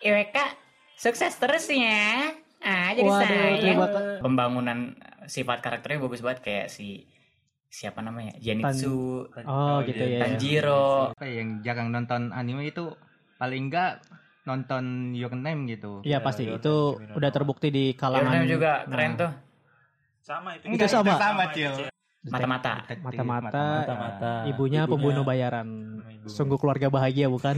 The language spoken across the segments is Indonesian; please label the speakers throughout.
Speaker 1: IWK sukses terus ya. Ah, jadi
Speaker 2: Waduh, terima
Speaker 1: saya
Speaker 2: kasih.
Speaker 1: pembangunan sifat karakternya bagus banget kayak si siapa namanya? Janitsu,
Speaker 3: Kan-
Speaker 2: Oh,
Speaker 3: iya,
Speaker 2: gitu ya.
Speaker 1: Tanjiro.
Speaker 3: Apa ya, yang jarang nonton anime itu paling enggak nonton Your Name gitu.
Speaker 2: Iya pasti
Speaker 4: Iya,
Speaker 2: itu
Speaker 4: Kimi no Na
Speaker 2: udah
Speaker 4: wa.
Speaker 2: terbukti di
Speaker 1: Your
Speaker 2: kalangan
Speaker 1: Name juga keren tuh.
Speaker 4: Sama itu.
Speaker 2: Itu sama.
Speaker 3: sama, Cil.
Speaker 1: Mata-mata.
Speaker 3: Detektif,
Speaker 2: Mata-mata.
Speaker 4: Mata-mata.
Speaker 2: Ibunya, pembunuh bayaran.
Speaker 4: Ibunya.
Speaker 2: Sungguh keluarga bahagia bukan?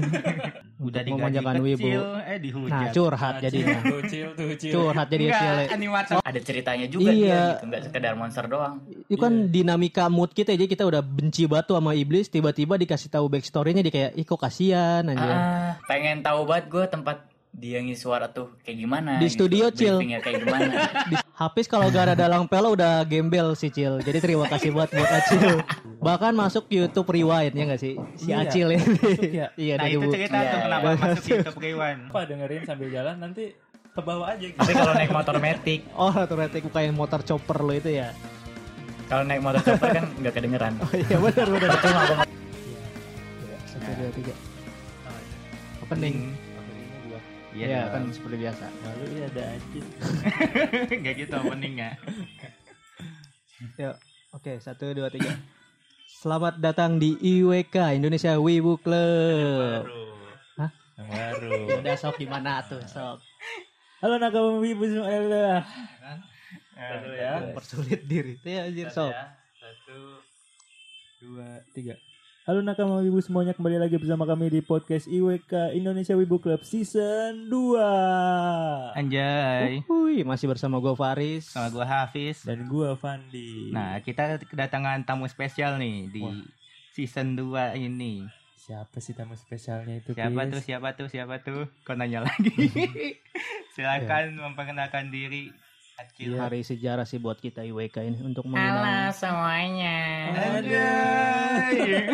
Speaker 2: Iya. Untuk
Speaker 3: Udah digaji
Speaker 2: memanjakan wibu.
Speaker 3: kecil, eh dihujat.
Speaker 2: Nah, curhat jadinya.
Speaker 4: Lucil ya. tuh Cil.
Speaker 2: Curhat jadi
Speaker 3: Enggak,
Speaker 2: Cile.
Speaker 1: kan-
Speaker 3: animatsu.
Speaker 1: Ada ceritanya juga
Speaker 2: Iya.
Speaker 1: dia gitu, nggak sekedar monster doang.
Speaker 2: Itu kan
Speaker 4: Iya.
Speaker 2: dinamika mood kita jadi kita udah benci batu sama iblis tiba-tiba dikasih tahu backstory-nya dia kayak ih kok kasihan anjir.
Speaker 1: Ah, pengen tahu banget gue tempat dia ngisi suara tuh kayak gimana. gitu.
Speaker 2: Di studio, Cil.
Speaker 1: Briefingnya kayak gimana.
Speaker 2: Habis kalau gara dalang pelo udah gembel si Cil. Jadi terima kasih buat buat Acil. Bahkan masuk YouTube Rewind ya gak sih? Si
Speaker 4: Iya,
Speaker 2: Acil ini.
Speaker 4: masuk ya.
Speaker 2: iya,
Speaker 3: Nah,
Speaker 2: dari
Speaker 3: itu
Speaker 2: Bu-
Speaker 3: cerita
Speaker 1: Iya,
Speaker 3: tuh
Speaker 1: iya.
Speaker 3: kenapa masuk YouTube Rewind.
Speaker 4: Apa dengerin sambil jalan nanti ke bawah aja gitu.
Speaker 1: Tapi kalau naik motor metik,
Speaker 2: Oh, ternyata aku kayak motor chopper lo itu ya.
Speaker 1: kalau naik motor chopper kan nggak kedengeran.
Speaker 2: Oh iya benar benar.
Speaker 1: Cuma gua
Speaker 2: Iya, Satu dua tiga. Opening.
Speaker 4: Akhirnya gua
Speaker 3: Iya,
Speaker 2: Iya
Speaker 3: kan
Speaker 2: kan seperti biasa.
Speaker 4: malu ya ada Acil.
Speaker 3: enggak gitu opening ya.
Speaker 2: Yuk. Oke, satu dua tiga. Selamat datang di IWK Indonesia Wibu Club. Hah?
Speaker 4: Yang baru.
Speaker 2: Ya udah sok gimana tuh sok
Speaker 4: Halo Nakama Wibu
Speaker 3: Nah,
Speaker 4: Ismail.
Speaker 3: Aduh
Speaker 4: Nah, ya.
Speaker 2: mempersulit diri. Itu ya anjir sok.
Speaker 3: Satu.
Speaker 4: dua, tiga. Halo nakama wibu semuanya kembali lagi bersama kami di podcast IWK Indonesia Wibu Club Season 2
Speaker 3: Anjay.
Speaker 2: Wuih, masih bersama gue Faris.
Speaker 3: ya. Sama gua Hafiz.
Speaker 4: Dan gua Fandi
Speaker 3: Nah, kita kedatangan tamu spesial nih di
Speaker 4: Wah.
Speaker 3: season 2 ini.
Speaker 4: Siapa sih tamu spesialnya itu
Speaker 3: Siapa
Speaker 4: Kis?
Speaker 3: tuh? Siapa tuh? Siapa tuh? Kau nanya lagi. Silakan memperkenalkan diri. Acil.
Speaker 2: Iya, Hari sejarah sih buat kita IWK ini untuk
Speaker 1: Halo
Speaker 2: mengenang
Speaker 1: semuanya.
Speaker 3: Anjay.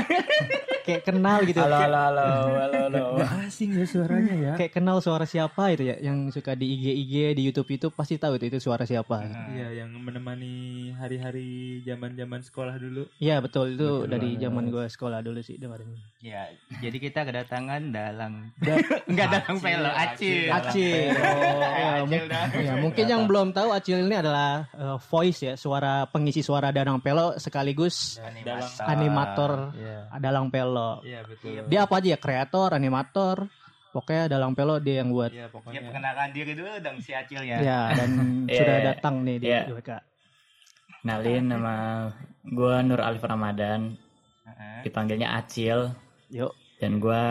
Speaker 2: kayak kenal gitu.
Speaker 1: Halo halo halo halo halo.
Speaker 4: Nggak asing ya suaranya ya
Speaker 2: Kayak kenal suara siapa itu ya yang suka di IG IG di YouTube YouTube pasti tahu itu itu suara siapa.
Speaker 4: Iya yang menemani hari-hari zaman-zaman sekolah dulu
Speaker 2: Iya betul itu
Speaker 4: Betul
Speaker 2: dari
Speaker 4: banget.
Speaker 2: zaman gue sekolah dulu sih dengerin.
Speaker 3: Ya, jadi kita kedatangan dalang.
Speaker 4: Da-
Speaker 3: Enggak dalang pelo, Acil.
Speaker 2: Acil. Ya,
Speaker 3: Acil dah.
Speaker 2: Ya, mungkin yang belum tahu Acil ini adalah eh, voice ya, suara pengisi suara Danang Pelo sekaligus
Speaker 4: Dalang
Speaker 2: animator
Speaker 4: Iya
Speaker 2: Dalang Pelo.
Speaker 4: Iya betul
Speaker 2: Dia apa aja ya? Kreator, animator, pokoknya Dalang Pelo dia yang buat.
Speaker 4: Iya
Speaker 3: Ya,
Speaker 4: pokoknya
Speaker 3: perkenalkan diri dulu dong si Acil ya.
Speaker 2: Ya, dan
Speaker 1: Iya,
Speaker 2: sudah
Speaker 1: iya.
Speaker 2: datang nih di
Speaker 1: Iya.
Speaker 2: IWK.
Speaker 1: Nalin nama gue Nur Alif Ramadan,
Speaker 3: Heeh.
Speaker 1: dipanggilnya Acil,
Speaker 2: Yuk.
Speaker 1: dan gue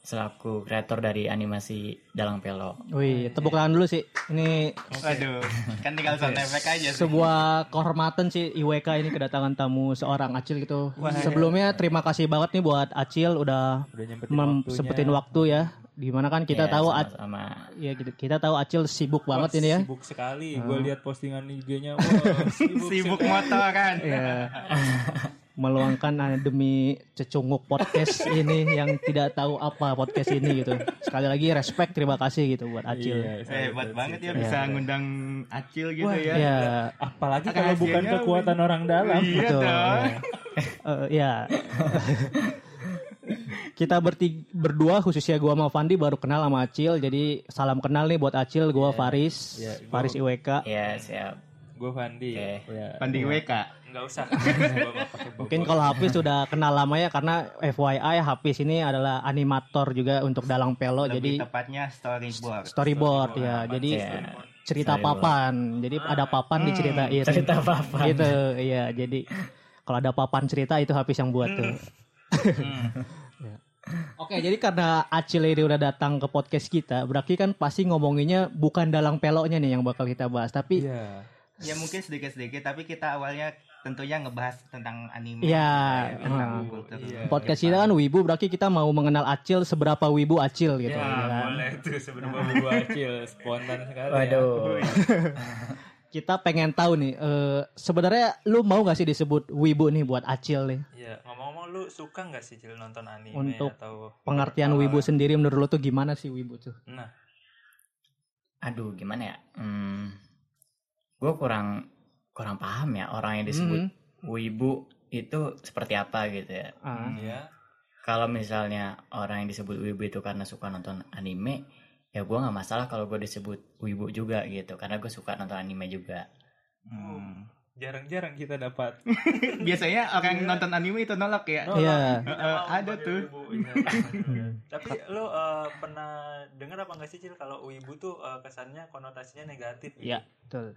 Speaker 1: selaku kreator dari animasi Dalang Pelo.
Speaker 2: Wih, tepuk tangan dulu sih. Ini
Speaker 3: Waduh, kan tinggal sound effect aja sih.
Speaker 2: sebuah kehormatan sih IWK ini kedatangan tamu seorang Acil gitu.
Speaker 3: iya.
Speaker 2: Sebelumnya terima kasih banget nih buat Acil udah
Speaker 4: Udah nyempetin waktunya
Speaker 2: memsempetin waktu ya. Dimana kan kita
Speaker 1: Ya,
Speaker 2: tahu Ac-
Speaker 1: sama-sama.
Speaker 2: Iya gitu. Kita tahu Acil sibuk banget
Speaker 4: Wah,
Speaker 2: ini ya.
Speaker 4: Sibuk sekali Gua lihat postingan IG-nya wah, Sibuk,
Speaker 3: Sibuk kan. motoran.
Speaker 2: Iya. Meluangkan uh, demi cecunguk podcast ini yang tidak tahu apa podcast ini gitu. Sekali lagi respect terima kasih gitu buat Acil.
Speaker 4: Iya, saya lihat
Speaker 3: Hebat banget ya
Speaker 4: situ.
Speaker 3: bisa ngundang Acil gitu
Speaker 4: Wah,
Speaker 2: Iya.
Speaker 3: ya.
Speaker 4: Apalagi
Speaker 3: Akan
Speaker 4: kalau bukan
Speaker 3: hasilnya-
Speaker 4: kekuatan orang dalam.
Speaker 3: Iya
Speaker 2: betul.
Speaker 3: dong.
Speaker 2: Eh, iya. Kita bertiga, berdua khususnya gua sama Fandi baru kenal sama Acil. Jadi salam kenal nih buat Acil, gua Faris,
Speaker 4: Iya, gua-
Speaker 2: Faris IWK.
Speaker 1: Ya siap.
Speaker 4: Gue Fandi.
Speaker 1: Oke.
Speaker 4: Ya.
Speaker 3: Pandi WK.
Speaker 4: Nggak Iya. usah.
Speaker 2: Mungkin kalau Hafiz sudah kenal lama ya karena FYI Hafiz ini adalah animator juga untuk Dalang Pelo. jadi
Speaker 3: Lebih tepatnya storyboard.
Speaker 2: storyboard ya jadi
Speaker 4: Iya.
Speaker 2: cerita
Speaker 1: Storyboard.
Speaker 2: papan jadi ada papan
Speaker 4: Hmm,
Speaker 2: diceritain
Speaker 1: Cerita apa?
Speaker 2: gitu iya jadi kalau ada papan cerita itu habis yang buat tuh
Speaker 3: Hmm.
Speaker 2: Ya. Oke, jadi karena Acil ini udah datang ke podcast kita, berarti kan pasti ngomonginnya bukan dalang peloknya nih yang bakal kita bahas, tapi
Speaker 4: Iya.
Speaker 3: Ya mungkin sedikit-sedikit tapi kita awalnya tentunya ngebahas tentang anime.
Speaker 2: Iya.
Speaker 3: Ya, tentang
Speaker 2: Hmm.
Speaker 3: kultur.
Speaker 4: Iya.
Speaker 2: podcast kita kan wibu, berarti kita mau mengenal Acil seberapa wibu Acil
Speaker 5: Iya,
Speaker 2: gitu.
Speaker 4: Ya,
Speaker 2: ya kan?
Speaker 4: boleh tuh sebelum Babu Acil spontan
Speaker 5: ya.
Speaker 4: sekali. ya.
Speaker 1: Waduh.
Speaker 3: ya.
Speaker 2: Kita pengen tahu nih, eh, sebenarnya lu mau gak sih disebut wibu nih buat Acil nih?
Speaker 5: Iya, ngomong-ngomong lu suka nggak sih Cil nonton anime
Speaker 2: Untuk
Speaker 5: atau
Speaker 2: pengertian wibu
Speaker 5: Eh.
Speaker 2: sendiri menurut lo tuh gimana sih wibu tuh?
Speaker 5: Nah,
Speaker 1: Aduh gimana ya? Hmm, gue kurang kurang paham ya orang yang disebut
Speaker 2: Mhm.
Speaker 1: wibu itu seperti apa gitu ya.
Speaker 2: Ah.
Speaker 5: ya.
Speaker 4: Iya.
Speaker 1: Kalau misalnya orang yang disebut wibu itu karena suka nonton anime, ya gue nggak masalah kalau gue disebut wibu juga gitu karena gue suka nonton anime juga
Speaker 3: Hmm.
Speaker 5: Jarang-jarang kita dapat.
Speaker 3: Biasanya orang nonton anime itu nolak ya.
Speaker 5: Oh,
Speaker 2: Iya.
Speaker 5: nggak
Speaker 3: Eh,
Speaker 5: mau
Speaker 3: ada
Speaker 5: dipanggil
Speaker 3: tuh.
Speaker 5: Wibu, iya, iya. Tapi lo eh, pernah dengar apa enggak sih Cil kalau wibu tuh eh, kesannya konotasinya negatif? gitu?
Speaker 2: Iya, betul.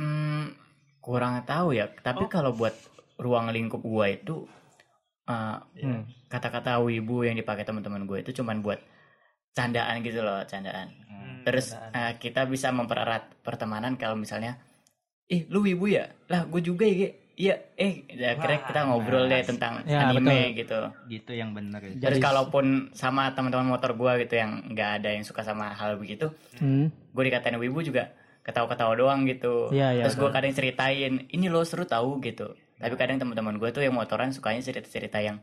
Speaker 1: Hmm, kurang tahu ya tapi
Speaker 5: Oh.
Speaker 1: kalau buat ruang lingkup gue itu eh,
Speaker 5: Iya.
Speaker 1: kata-kata wibu yang dipakai teman-teman gue itu cuman buat candaan gitu loh candaan
Speaker 5: Hmm,
Speaker 1: Terus
Speaker 5: keadaan.
Speaker 1: eh, kita bisa mempererat pertemanan kalau misalnya, ih lu wibu ya? Lah gue juga ya, Ge." iya. Eh, ya, akhirnya
Speaker 5: Wah,
Speaker 1: kita ngobrol deh
Speaker 3: nice.
Speaker 1: tentang
Speaker 2: Ya,
Speaker 1: anime gitu.
Speaker 3: Gitu yang bener ya.
Speaker 1: Terus
Speaker 2: Jadi-
Speaker 1: kalaupun sama teman-teman motor gua gitu yang nggak ada yang suka sama hal begitu,
Speaker 2: Hmm.
Speaker 1: gue dikatain wibu juga ketawa-ketawa doang gitu.
Speaker 2: Iya, iya,
Speaker 1: Terus gue kadang ceritain, ini lo seru tahu gitu. Tapi kadang teman-teman gue tuh yang motoran sukanya cerita-cerita yang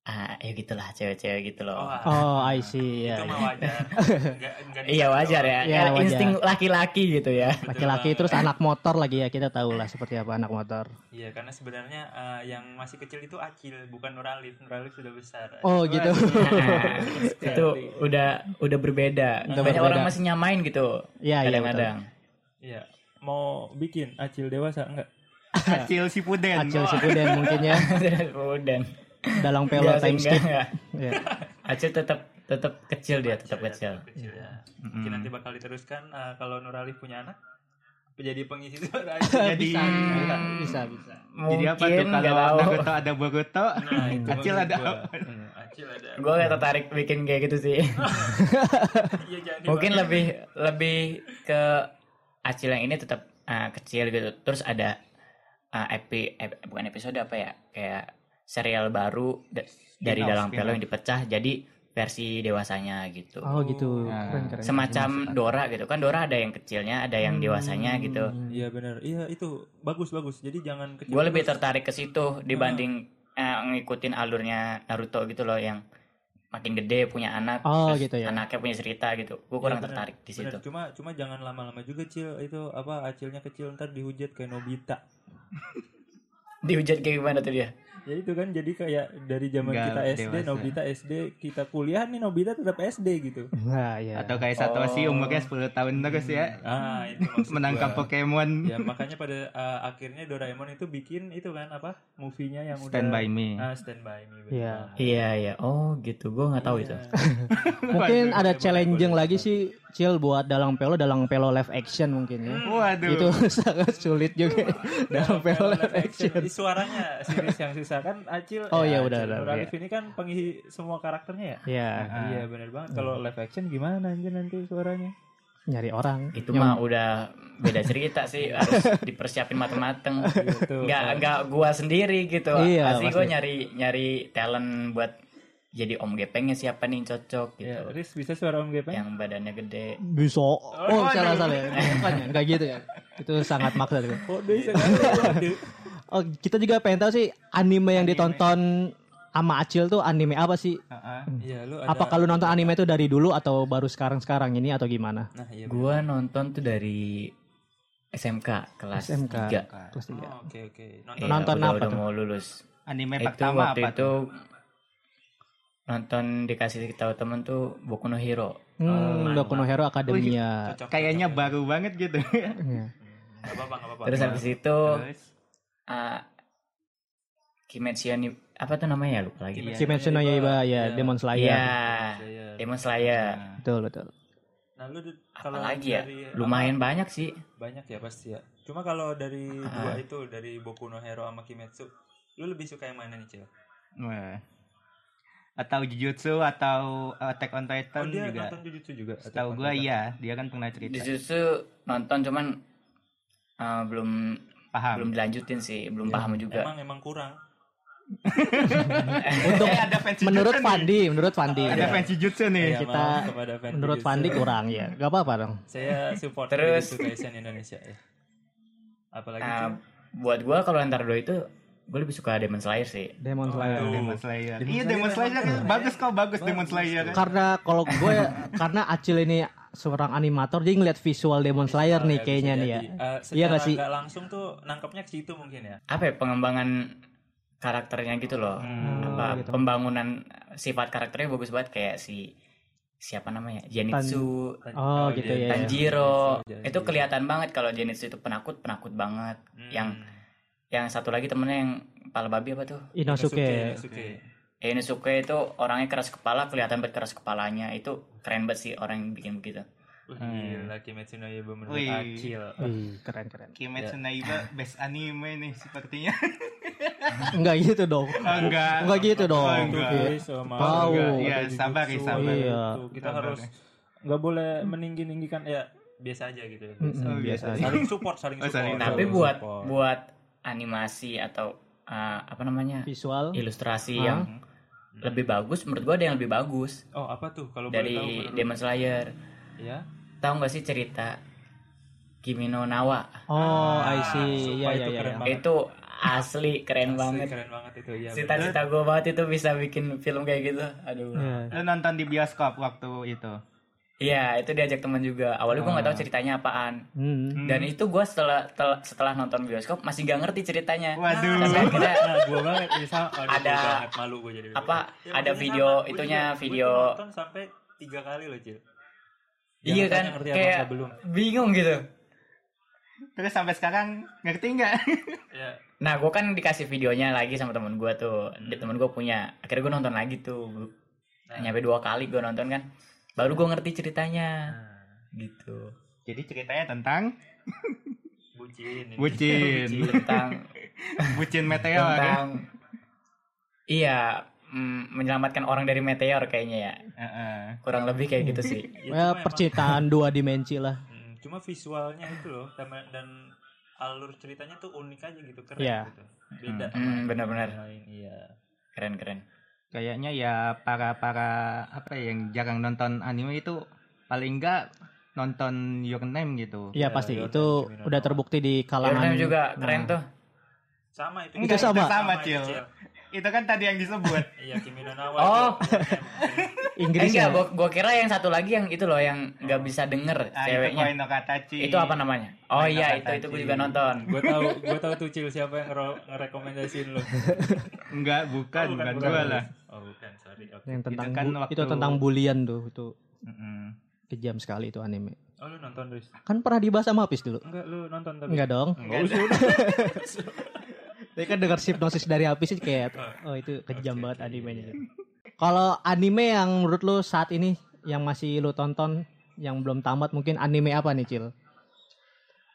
Speaker 1: ah ya gitulah cewek-cewek gitu loh.
Speaker 5: Wah,
Speaker 2: Oh, I see. Ya.
Speaker 5: nah. ah. itu mah wajar. Nggak- nggak
Speaker 1: iya wajar ya,
Speaker 2: Iya,
Speaker 1: Ya,
Speaker 2: wajar.
Speaker 1: insting laki-laki gitu ya.
Speaker 2: Laki-laki terus anak motor lagi ya kita tahu lah seperti apa anak motor.
Speaker 5: Iya, karena sebenarnya eh, yang masih kecil itu acil, bukan nuralif. Nuralif sudah besar.
Speaker 2: Oh gitu.
Speaker 1: Nah,
Speaker 5: Iya,
Speaker 1: itu udah udah berbeda.
Speaker 2: Udah
Speaker 1: Banyak
Speaker 2: berbeda.
Speaker 1: orang masih nyamain gitu.
Speaker 2: Iya iya. betul.
Speaker 1: Kadang-kadang.
Speaker 5: Iya.
Speaker 4: Mau bikin acil dewasa enggak?
Speaker 3: Acil si puden.
Speaker 2: Acil Sipuden mungkin ya
Speaker 1: Dan
Speaker 2: dalang pelo
Speaker 1: Enggak sih,
Speaker 2: time skip.
Speaker 1: enggak, enggak.
Speaker 2: Ya.
Speaker 1: Acil tetap tetap kecil dia, tetap kecil.
Speaker 5: tetap kecil ya.
Speaker 3: Mm-mm.
Speaker 5: Mungkin nanti bakal diteruskan eh, kalau Nuralif punya anak jadi pengisi suara.
Speaker 3: Jadi
Speaker 2: Bisa, bisa, bisa, bisa.
Speaker 3: jadi apa tuh
Speaker 1: Mungkin
Speaker 3: kalau
Speaker 1: nggak tahu.
Speaker 3: Naruto ada Boruto,
Speaker 5: Nah, itu
Speaker 3: Acil
Speaker 5: maksud
Speaker 3: ada
Speaker 5: gua. Hmm,
Speaker 3: apa?
Speaker 5: Acil ada.
Speaker 1: Gue gak tertarik bikin kayak gitu sih.
Speaker 5: Iya, jangan
Speaker 1: Mungkin
Speaker 5: dipakai.
Speaker 1: lebih lebih ke Acil yang ini tetap eh, kecil gitu. Terus ada eh, epi ep- bukan episode apa ya? Kayak serial baru da- dari
Speaker 3: Spin-off,
Speaker 1: dalam pelo
Speaker 3: spin-off.
Speaker 1: yang dipecah jadi versi dewasanya gitu.
Speaker 2: Oh gitu.
Speaker 3: Nah,
Speaker 2: Keren keren.
Speaker 1: semacam Dora gitu kan Dora ada yang kecilnya ada yang dewasanya
Speaker 2: Hmm.
Speaker 1: gitu
Speaker 5: Iya benar. Iya itu bagus bagus. Jadi jangan kecil.
Speaker 1: gue lebih tertarik ke situ dibanding eh, ngikutin alurnya Naruto gitu loh yang makin gede punya anak
Speaker 2: Oh,
Speaker 1: terus
Speaker 2: gitu ya.
Speaker 1: anaknya punya cerita gitu gue kurang
Speaker 5: bener,
Speaker 1: tertarik di situ
Speaker 5: Benar, cuma cuma jangan lama-lama juga cil itu apa acilnya kecil ntar dihujat kayak Nobita.
Speaker 1: dihujat kayak gimana tuh dia
Speaker 4: Ya itu kan jadi kayak dari zaman
Speaker 3: Enggak
Speaker 4: kita SD,
Speaker 3: dewasa.
Speaker 4: Nobita SD, kita kuliah nih Nobita tetap SD gitu.
Speaker 2: Nah, ya.
Speaker 3: Atau kayak Satoshi
Speaker 1: Oh.
Speaker 3: umurnya 10 tahun terus ya.
Speaker 5: Ah itu maksud
Speaker 3: Menangkap
Speaker 5: gua.
Speaker 3: Pokemon.
Speaker 5: Ya makanya pada uh, akhirnya Doraemon itu bikin itu kan apa movie-nya yang udah
Speaker 3: Stand by me.
Speaker 5: Ah, stand by me. benar.
Speaker 2: Iya.
Speaker 1: iya iya oh gitu gue nggak tahu
Speaker 5: Iya.
Speaker 1: itu
Speaker 2: Mungkin ada
Speaker 5: Boleh,
Speaker 2: challenging
Speaker 5: boleh.
Speaker 2: lagi sih Cil buat dalang pelo, dalang pelo live action mungkin ya.
Speaker 3: Waduh.
Speaker 2: Itu sangat sulit juga dalang pelo live action.
Speaker 5: Ih, suaranya series yang sisa kan Acil.
Speaker 2: Oh, iya, udah,
Speaker 5: Acil
Speaker 2: udah,
Speaker 5: Nur Alif ini kan pengisi semua karakternya ya.
Speaker 2: Ya,
Speaker 3: Ah.
Speaker 5: Iya benar
Speaker 1: Hmm.
Speaker 5: banget. Kalau
Speaker 4: Kalau live action gimana anjir nanti suaranya?
Speaker 2: nyari orang.
Speaker 1: itu
Speaker 2: Yang- Iya.
Speaker 1: mah udah beda cerita sih harus dipersiapin mateng-mateng
Speaker 4: Gitu.
Speaker 1: nggak nggak gue sendiri gitu
Speaker 2: Iya,
Speaker 1: pasti gue
Speaker 2: pasti.
Speaker 1: nyari nyari talent buat jadi om gepengnya siapa nih yang cocok gitu
Speaker 4: Ya,
Speaker 2: Iya,
Speaker 4: Riz bisa suara Om Gepeng?
Speaker 1: yang badannya gede
Speaker 2: bisa oh salah salah ya Bukan ya, nggak gitu ya itu sangat maksa juga.
Speaker 4: Oh, dia
Speaker 1: Iya.
Speaker 4: bisa Waduh.
Speaker 2: oh kita juga pengen tahu sih anime yang ditonton sama Acil tuh anime apa sih
Speaker 1: Ah,
Speaker 3: Heeh.
Speaker 5: Iya lu ada.
Speaker 2: apa kalau nonton anime itu dari dulu atau baru sekarang sekarang ini atau gimana
Speaker 5: Nah iya. benar.
Speaker 1: Gua nonton tuh dari SMK kelas
Speaker 2: SMK
Speaker 1: 3.
Speaker 2: kelas tiga
Speaker 5: Oh, Oke oke. Nonton
Speaker 1: ya. Iya,
Speaker 2: nonton
Speaker 1: udah,
Speaker 2: apa
Speaker 1: udah
Speaker 2: tuh?
Speaker 1: mau lulus.
Speaker 3: Anime
Speaker 1: itu waktu
Speaker 3: pertama apa
Speaker 1: itu
Speaker 3: tuh?
Speaker 1: nonton dikasih tahu temen tuh Boku no Hero.
Speaker 2: hmm, Boku no Hero
Speaker 5: cocok,
Speaker 2: Academia
Speaker 5: cocok,
Speaker 3: Kayaknya
Speaker 5: cocok.
Speaker 3: baru banget gitu.
Speaker 2: Iya.
Speaker 5: Gak apa-apa gak apa-apa.
Speaker 1: Terus habis itu
Speaker 3: Terus
Speaker 1: ah, Kimetsu no apa tuh namanya ya lupa lagi.
Speaker 5: Kimetsu.
Speaker 2: Kimetsu no
Speaker 5: Iya.
Speaker 2: Yaiba ya Demon
Speaker 1: Iya,
Speaker 2: Slayer
Speaker 1: Demon Slayer.
Speaker 3: nah,
Speaker 2: betul betul
Speaker 5: Nah lu Dut, kalau
Speaker 1: Apalagi ya?
Speaker 5: dari-
Speaker 1: Lumayan banyak sih.
Speaker 5: banyak ya pasti ya. Cuma kalau dari
Speaker 1: Ah.
Speaker 5: dua itu dari Boku no Hero sama Kimetsu, lu lebih suka yang mana nih Cil?
Speaker 3: wah. atau Jujutsu atau eh, Attack
Speaker 5: Oh
Speaker 3: on Titan
Speaker 5: dia
Speaker 3: juga.
Speaker 5: nonton Jujutsu juga.
Speaker 3: Setahu gua iya, dia kan pernah cerita.
Speaker 1: Jujutsu nonton cuman ah, belum
Speaker 3: Paham. Iya.
Speaker 1: belum dilanjutin sih, belum paham juga.
Speaker 5: Emang emang kurang.
Speaker 2: untuk
Speaker 3: Eh, ada fans Jujutsu
Speaker 2: menurut
Speaker 3: nih.
Speaker 2: Fandi menurut Fandi
Speaker 3: Ada fans Jujutsu nih.
Speaker 5: Iya,
Speaker 2: Eh, kita-
Speaker 5: maaf kepada fans
Speaker 2: menurut
Speaker 5: Jujutsu.
Speaker 2: Fandi kurang ya gak apa-apa dong
Speaker 5: Saya support
Speaker 1: Terus.
Speaker 5: Jujutsu Kaisen Indonesia ya. Apalagi
Speaker 1: Ah,
Speaker 5: Cil?
Speaker 1: buat gua kalau antara dua itu gue lebih suka Demon Slayer sih.
Speaker 2: Demon
Speaker 5: Oh,
Speaker 2: Slayer
Speaker 5: aduh.
Speaker 3: Demon Slayer.
Speaker 5: Demon
Speaker 3: Iya
Speaker 5: Slayer
Speaker 3: Demon Slayer
Speaker 5: emang-
Speaker 3: bagus kok bagus Demon Slayer.
Speaker 2: karena kalau gue karena Acil ini seorang animator jadi ngeliat visual Demon Slayer nih
Speaker 5: Ya, bisa
Speaker 2: kayaknya nih ya
Speaker 5: jadi. Eh,
Speaker 2: Iya
Speaker 5: secara
Speaker 2: nggak sih?
Speaker 5: nggak langsung tuh nangkapnya ke situ mungkin ya.
Speaker 1: Apa ya, pengembangan karakternya gitu loh.
Speaker 3: Hmm.
Speaker 1: Apa,
Speaker 2: gitu.
Speaker 1: Pembangunan sifat karakternya bagus banget kayak si siapa namanya Genitsu
Speaker 2: Oh,
Speaker 5: iya,
Speaker 2: gitu ya.
Speaker 1: Tanjiro
Speaker 4: Iya, iya.
Speaker 1: itu kelihatan banget kalau Genitsu itu penakut penakut banget
Speaker 5: Hmm.
Speaker 1: Yang- yang satu lagi temennya yang kepala babi apa tuh
Speaker 2: Inosuke.
Speaker 1: Eh, Inosuke itu orangnya keras kepala kelihatan banget keras kepalanya itu keren banget sih orang yang bikin begitu Hmm.
Speaker 5: Gila, Kimetsu no Yaiba menurut
Speaker 3: Wih.
Speaker 5: Acil.
Speaker 2: Wih, keren
Speaker 3: Iya.
Speaker 2: keren.
Speaker 3: Kimetsu no Yaiba best anime nih sepertinya. Oh,
Speaker 2: Enggak gitu dong.
Speaker 3: Enggak.
Speaker 2: Enggak gitu dong.
Speaker 3: Oh, enggak.
Speaker 2: Iya.
Speaker 4: sama
Speaker 2: Tahu.
Speaker 4: Enggak,
Speaker 2: Iya,
Speaker 4: ada
Speaker 3: sabar,
Speaker 4: jujutsu,
Speaker 3: sabar.
Speaker 4: gitu.
Speaker 2: Iya.
Speaker 4: Kita
Speaker 5: Kita harus
Speaker 4: nggak boleh meninggi ninggikan ya.
Speaker 5: biasa aja gitu.
Speaker 2: Mm-mm,
Speaker 3: Oh,
Speaker 2: biasa
Speaker 3: biasa.
Speaker 2: aja.
Speaker 5: Saling support, saling
Speaker 3: Oh,
Speaker 5: support.
Speaker 3: saling
Speaker 1: Hmm. tapi
Speaker 4: Betul,
Speaker 1: buat
Speaker 5: Iya, support.
Speaker 1: buat animasi atau eh, apa namanya
Speaker 2: Visual.
Speaker 1: ilustrasi
Speaker 2: Hah?
Speaker 1: yang lebih bagus menurut gua ada yang lebih bagus
Speaker 5: Hmm. Oh, apa tuh kalau boleh tahu
Speaker 1: dari
Speaker 5: menurut-
Speaker 1: Demon Slayer
Speaker 5: ya?
Speaker 1: tahu nggak sih cerita Kimi no Nawa
Speaker 2: Oh, I see.
Speaker 5: Sumpah
Speaker 2: Iya iya
Speaker 5: itu
Speaker 2: iya.
Speaker 5: keren banget.
Speaker 1: itu asli keren
Speaker 5: Asli
Speaker 1: banget
Speaker 5: Keren banget itu ya.
Speaker 1: cita-cita gue banget itu bisa bikin film kayak gitu aduh
Speaker 2: Iya.
Speaker 3: Lu nonton di bioskop waktu itu.
Speaker 1: iya itu diajak teman juga awalnya gue nggak tahu ceritanya apaan
Speaker 2: Hmm.
Speaker 3: Hmm.
Speaker 1: dan itu gue setelah tel- setelah nonton bioskop masih gak ngerti ceritanya
Speaker 3: Waduh.
Speaker 1: tapi akhirnya
Speaker 5: Nah, gua banget misal aduh,
Speaker 1: Ada-
Speaker 5: gua banget malu gua jadi.
Speaker 1: apa
Speaker 5: Ya,
Speaker 1: ada
Speaker 5: makanya
Speaker 1: video
Speaker 5: sama, gua
Speaker 1: itunya
Speaker 5: juga- gua
Speaker 1: video
Speaker 5: juga nonton sampai tiga kali loh, Cil. Jangan
Speaker 1: iya
Speaker 5: tanya
Speaker 1: kan
Speaker 5: ngerti apa
Speaker 1: kayak
Speaker 5: apa belum.
Speaker 1: bingung gitu
Speaker 3: Terus sampai sekarang ngerti nggak?
Speaker 5: Ya,
Speaker 1: nah gue kan dikasih videonya lagi sama temen gue tuh Di- temen gue punya akhirnya gue nonton lagi tuh
Speaker 5: Nah.
Speaker 1: nyampe dua kali gue nonton kan baru gue ngerti ceritanya
Speaker 5: nah,
Speaker 1: gitu
Speaker 3: Jadi ceritanya tentang
Speaker 5: bucin ini. Ya,
Speaker 3: bucin,
Speaker 1: tentang
Speaker 3: bucin meteor.
Speaker 1: tentang iya mm, menyelamatkan orang dari meteor kayaknya ya
Speaker 3: Heeh.
Speaker 1: kurang lebih kayak gitu sih
Speaker 5: Ya,
Speaker 2: Ya,
Speaker 5: cuma emang-
Speaker 2: percintaan dua dimensi lah.
Speaker 5: Hmm, cuma visualnya itu loh sama- dan alur ceritanya tuh unik aja gitu keren
Speaker 2: Iya.
Speaker 5: gitu beda
Speaker 1: Hmm,
Speaker 5: sama
Speaker 1: benar-benar.
Speaker 5: yang lain iya
Speaker 1: keren keren
Speaker 3: Kayaknya ya para para apa ya, yang jarang nonton anime itu paling enggak nonton Your Name gitu.
Speaker 2: Iya
Speaker 5: Ya,
Speaker 2: pasti
Speaker 5: Your
Speaker 2: itu
Speaker 5: Name, Kimi no
Speaker 2: udah
Speaker 5: Na wa.
Speaker 2: terbukti di
Speaker 1: Your
Speaker 2: kalangan
Speaker 1: Name juga keren
Speaker 2: Nah.
Speaker 1: tuh
Speaker 5: sama itu
Speaker 3: Enggak,
Speaker 2: Itu sama.
Speaker 3: sama, Cil. Itu kan tadi yang disebut.
Speaker 5: iya Kimi no Nawa
Speaker 1: Oh.
Speaker 5: itu.
Speaker 1: Eh,
Speaker 2: Inggris
Speaker 1: enggak
Speaker 2: ya.
Speaker 1: gua, gua kira yang satu lagi yang itu loh yang nggak bisa denger
Speaker 3: Ah, itu
Speaker 1: ceweknya
Speaker 3: Koi no Katachi.
Speaker 1: itu apa namanya oh
Speaker 3: Main
Speaker 1: iya
Speaker 3: apa
Speaker 1: itu itu gue
Speaker 3: tadi?
Speaker 1: juga nonton
Speaker 5: gua tahu gua tahu tuh Cil siapa yang ngero- ngerekomendasiin lo
Speaker 3: Enggak, bukan,
Speaker 5: Oh,
Speaker 3: bukan, gua lah.
Speaker 5: oh bukan sorry oke
Speaker 2: yang tentang
Speaker 3: Itu kan
Speaker 2: bu-
Speaker 3: waktu-
Speaker 2: itu tentang bulian tuh itu
Speaker 3: Mm-mm.
Speaker 2: kejam sekali itu anime.
Speaker 5: oh lu nonton Riz
Speaker 2: Kan pernah dibahas sama Apis dulu.
Speaker 5: enggak lu nonton tapi
Speaker 2: Enggak dong.
Speaker 5: enggak ada.
Speaker 2: Tadi kan dengar hipnosis dari Apis sih kayak oh itu kejam banget animenya. Kalau anime yang menurut lu saat ini yang masih lu tonton yang belum tamat mungkin anime apa nih Cil?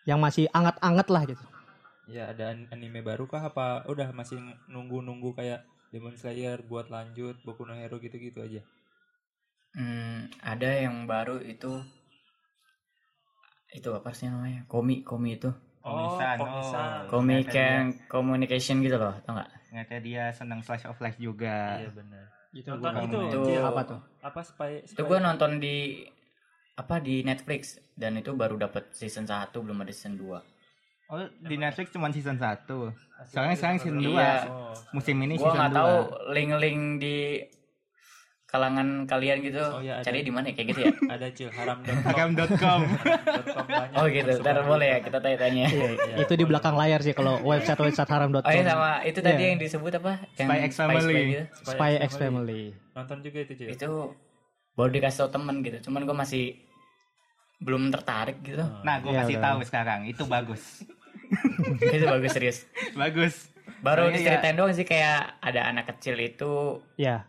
Speaker 2: Yang masih anget-anget lah gitu.
Speaker 5: ya ada an- anime baru kah apa udah masih nunggu-nunggu kayak Demon Slayer buat lanjut Boku no Hero gitu-gitu aja
Speaker 1: Hmm, ada yang baru itu itu apa sih namanya komi komi itu
Speaker 3: Komisan, oh.
Speaker 5: komisan.
Speaker 1: komi
Speaker 3: Ternyata
Speaker 1: yang communication gitu loh tau nggak
Speaker 3: Ternyata dia senang slash of life juga.
Speaker 5: iya benar
Speaker 2: Itu
Speaker 5: Nonton
Speaker 3: gua
Speaker 5: itu,
Speaker 1: itu
Speaker 5: Cil.
Speaker 2: apa tuh?
Speaker 5: Oh, iya. apa spy,
Speaker 1: itu gue nonton di apa di Netflix dan itu baru dapat season 1 belum ada season 2
Speaker 3: Oh, di Netflix cuma season 1.
Speaker 5: Asli
Speaker 3: Soalnya
Speaker 5: ada
Speaker 3: sekarang
Speaker 5: season
Speaker 3: season
Speaker 1: Iya.
Speaker 3: 2.
Speaker 5: Oh.
Speaker 3: Musim ini
Speaker 1: gue
Speaker 3: season 2.
Speaker 1: nggak tahu link-link di kalangan kalian gitu
Speaker 5: Oh, iya, ada.
Speaker 1: cari di mana ya, kayak gitu ya
Speaker 5: ada cil haram.com
Speaker 3: Agam.com.
Speaker 5: Haram.com banyak.
Speaker 1: oh gitu ntar
Speaker 5: Tersebar
Speaker 1: boleh ya
Speaker 5: gitu.
Speaker 1: kita tanya-tanya
Speaker 5: Iya.
Speaker 2: Itu di belakang layar sih kalau website-website haram.com.
Speaker 1: oh iya sama itu tadi
Speaker 2: Iya.
Speaker 1: yang disebut apa yang
Speaker 3: Spy X Family.
Speaker 1: gitu.
Speaker 2: Spy X Family.
Speaker 5: nonton juga itu cil
Speaker 1: itu baru dikasih tau temen gitu cuman gue masih belum tertarik gitu
Speaker 5: Oh.
Speaker 3: Nah, gue
Speaker 2: Iya,
Speaker 3: kasih
Speaker 2: udah.
Speaker 3: tahu sekarang. Itu bagus.
Speaker 1: itu bagus serius
Speaker 3: bagus.
Speaker 1: baru
Speaker 3: Soalnya ya
Speaker 1: diceritain doang sih kayak ada anak kecil itu
Speaker 2: Ya,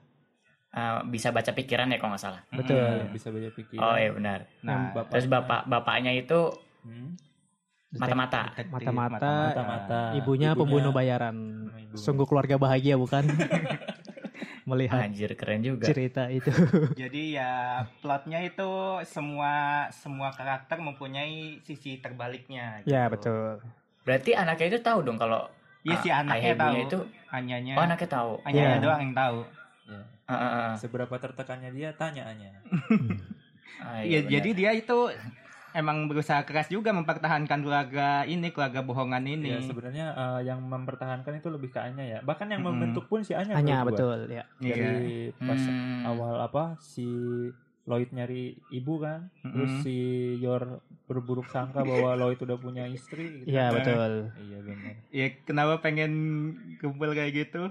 Speaker 1: eh, bisa baca pikiran ya kalau nggak salah
Speaker 2: betul.
Speaker 5: Hmm, bisa banyak pikiran Hmm,
Speaker 1: oh iya benar
Speaker 3: Nah,
Speaker 2: Yang
Speaker 5: bapak-
Speaker 1: terus bapak bapaknya itu
Speaker 5: Hmm,
Speaker 1: mata-mata
Speaker 3: detektif,
Speaker 2: Mata-mata,
Speaker 5: mata-mata
Speaker 2: Ah,
Speaker 5: Hmm,
Speaker 2: Ibunya pembunuh bayaran.
Speaker 5: Ibunya.
Speaker 2: Sungguh keluarga bahagia bukan?
Speaker 3: Iya.
Speaker 2: Melihat
Speaker 1: anjir keren juga
Speaker 2: cerita itu.
Speaker 3: Jadi ya plotnya itu semua semua karakter mempunyai sisi terbaliknya. gitu.
Speaker 2: ya, betul.
Speaker 1: berarti anaknya itu tahu dong kalau
Speaker 3: Iya
Speaker 1: ah,
Speaker 3: si anaknya
Speaker 1: ayah ibunya
Speaker 3: tahu.
Speaker 1: itu
Speaker 3: Anyanya.
Speaker 1: oh anaknya tahu
Speaker 3: Anyanya
Speaker 2: Iya.
Speaker 3: doang yang tahu.
Speaker 5: Ya.
Speaker 1: Ah, ah, ah.
Speaker 5: seberapa tertekannya dia tanya aja
Speaker 1: Ah, iya,
Speaker 3: Ya,
Speaker 1: benar.
Speaker 3: jadi dia itu emang berusaha keras juga mempertahankan keluarga ini, keluarga bohongan
Speaker 1: Hmm.
Speaker 3: ini.
Speaker 2: Iya,
Speaker 3: Iya.
Speaker 5: ya sebenarnya eh, yang mempertahankan itu lebih ke Anya ya bahkan yang
Speaker 3: Mm-mm.
Speaker 5: membentuk pun si Anya
Speaker 2: Hanya
Speaker 5: menurut gua.
Speaker 2: betul ya.
Speaker 3: Iya.
Speaker 5: dari pas
Speaker 1: Hmm.
Speaker 5: awal apa si Lloyd nyari ibu kan terus
Speaker 3: Mm-mm.
Speaker 5: si Yor berburuk sangka bahwa Lloyd udah punya istri gitu.
Speaker 2: Iya, betul.
Speaker 5: iya benar
Speaker 3: Ya kenapa pengen kumpul kayak gitu?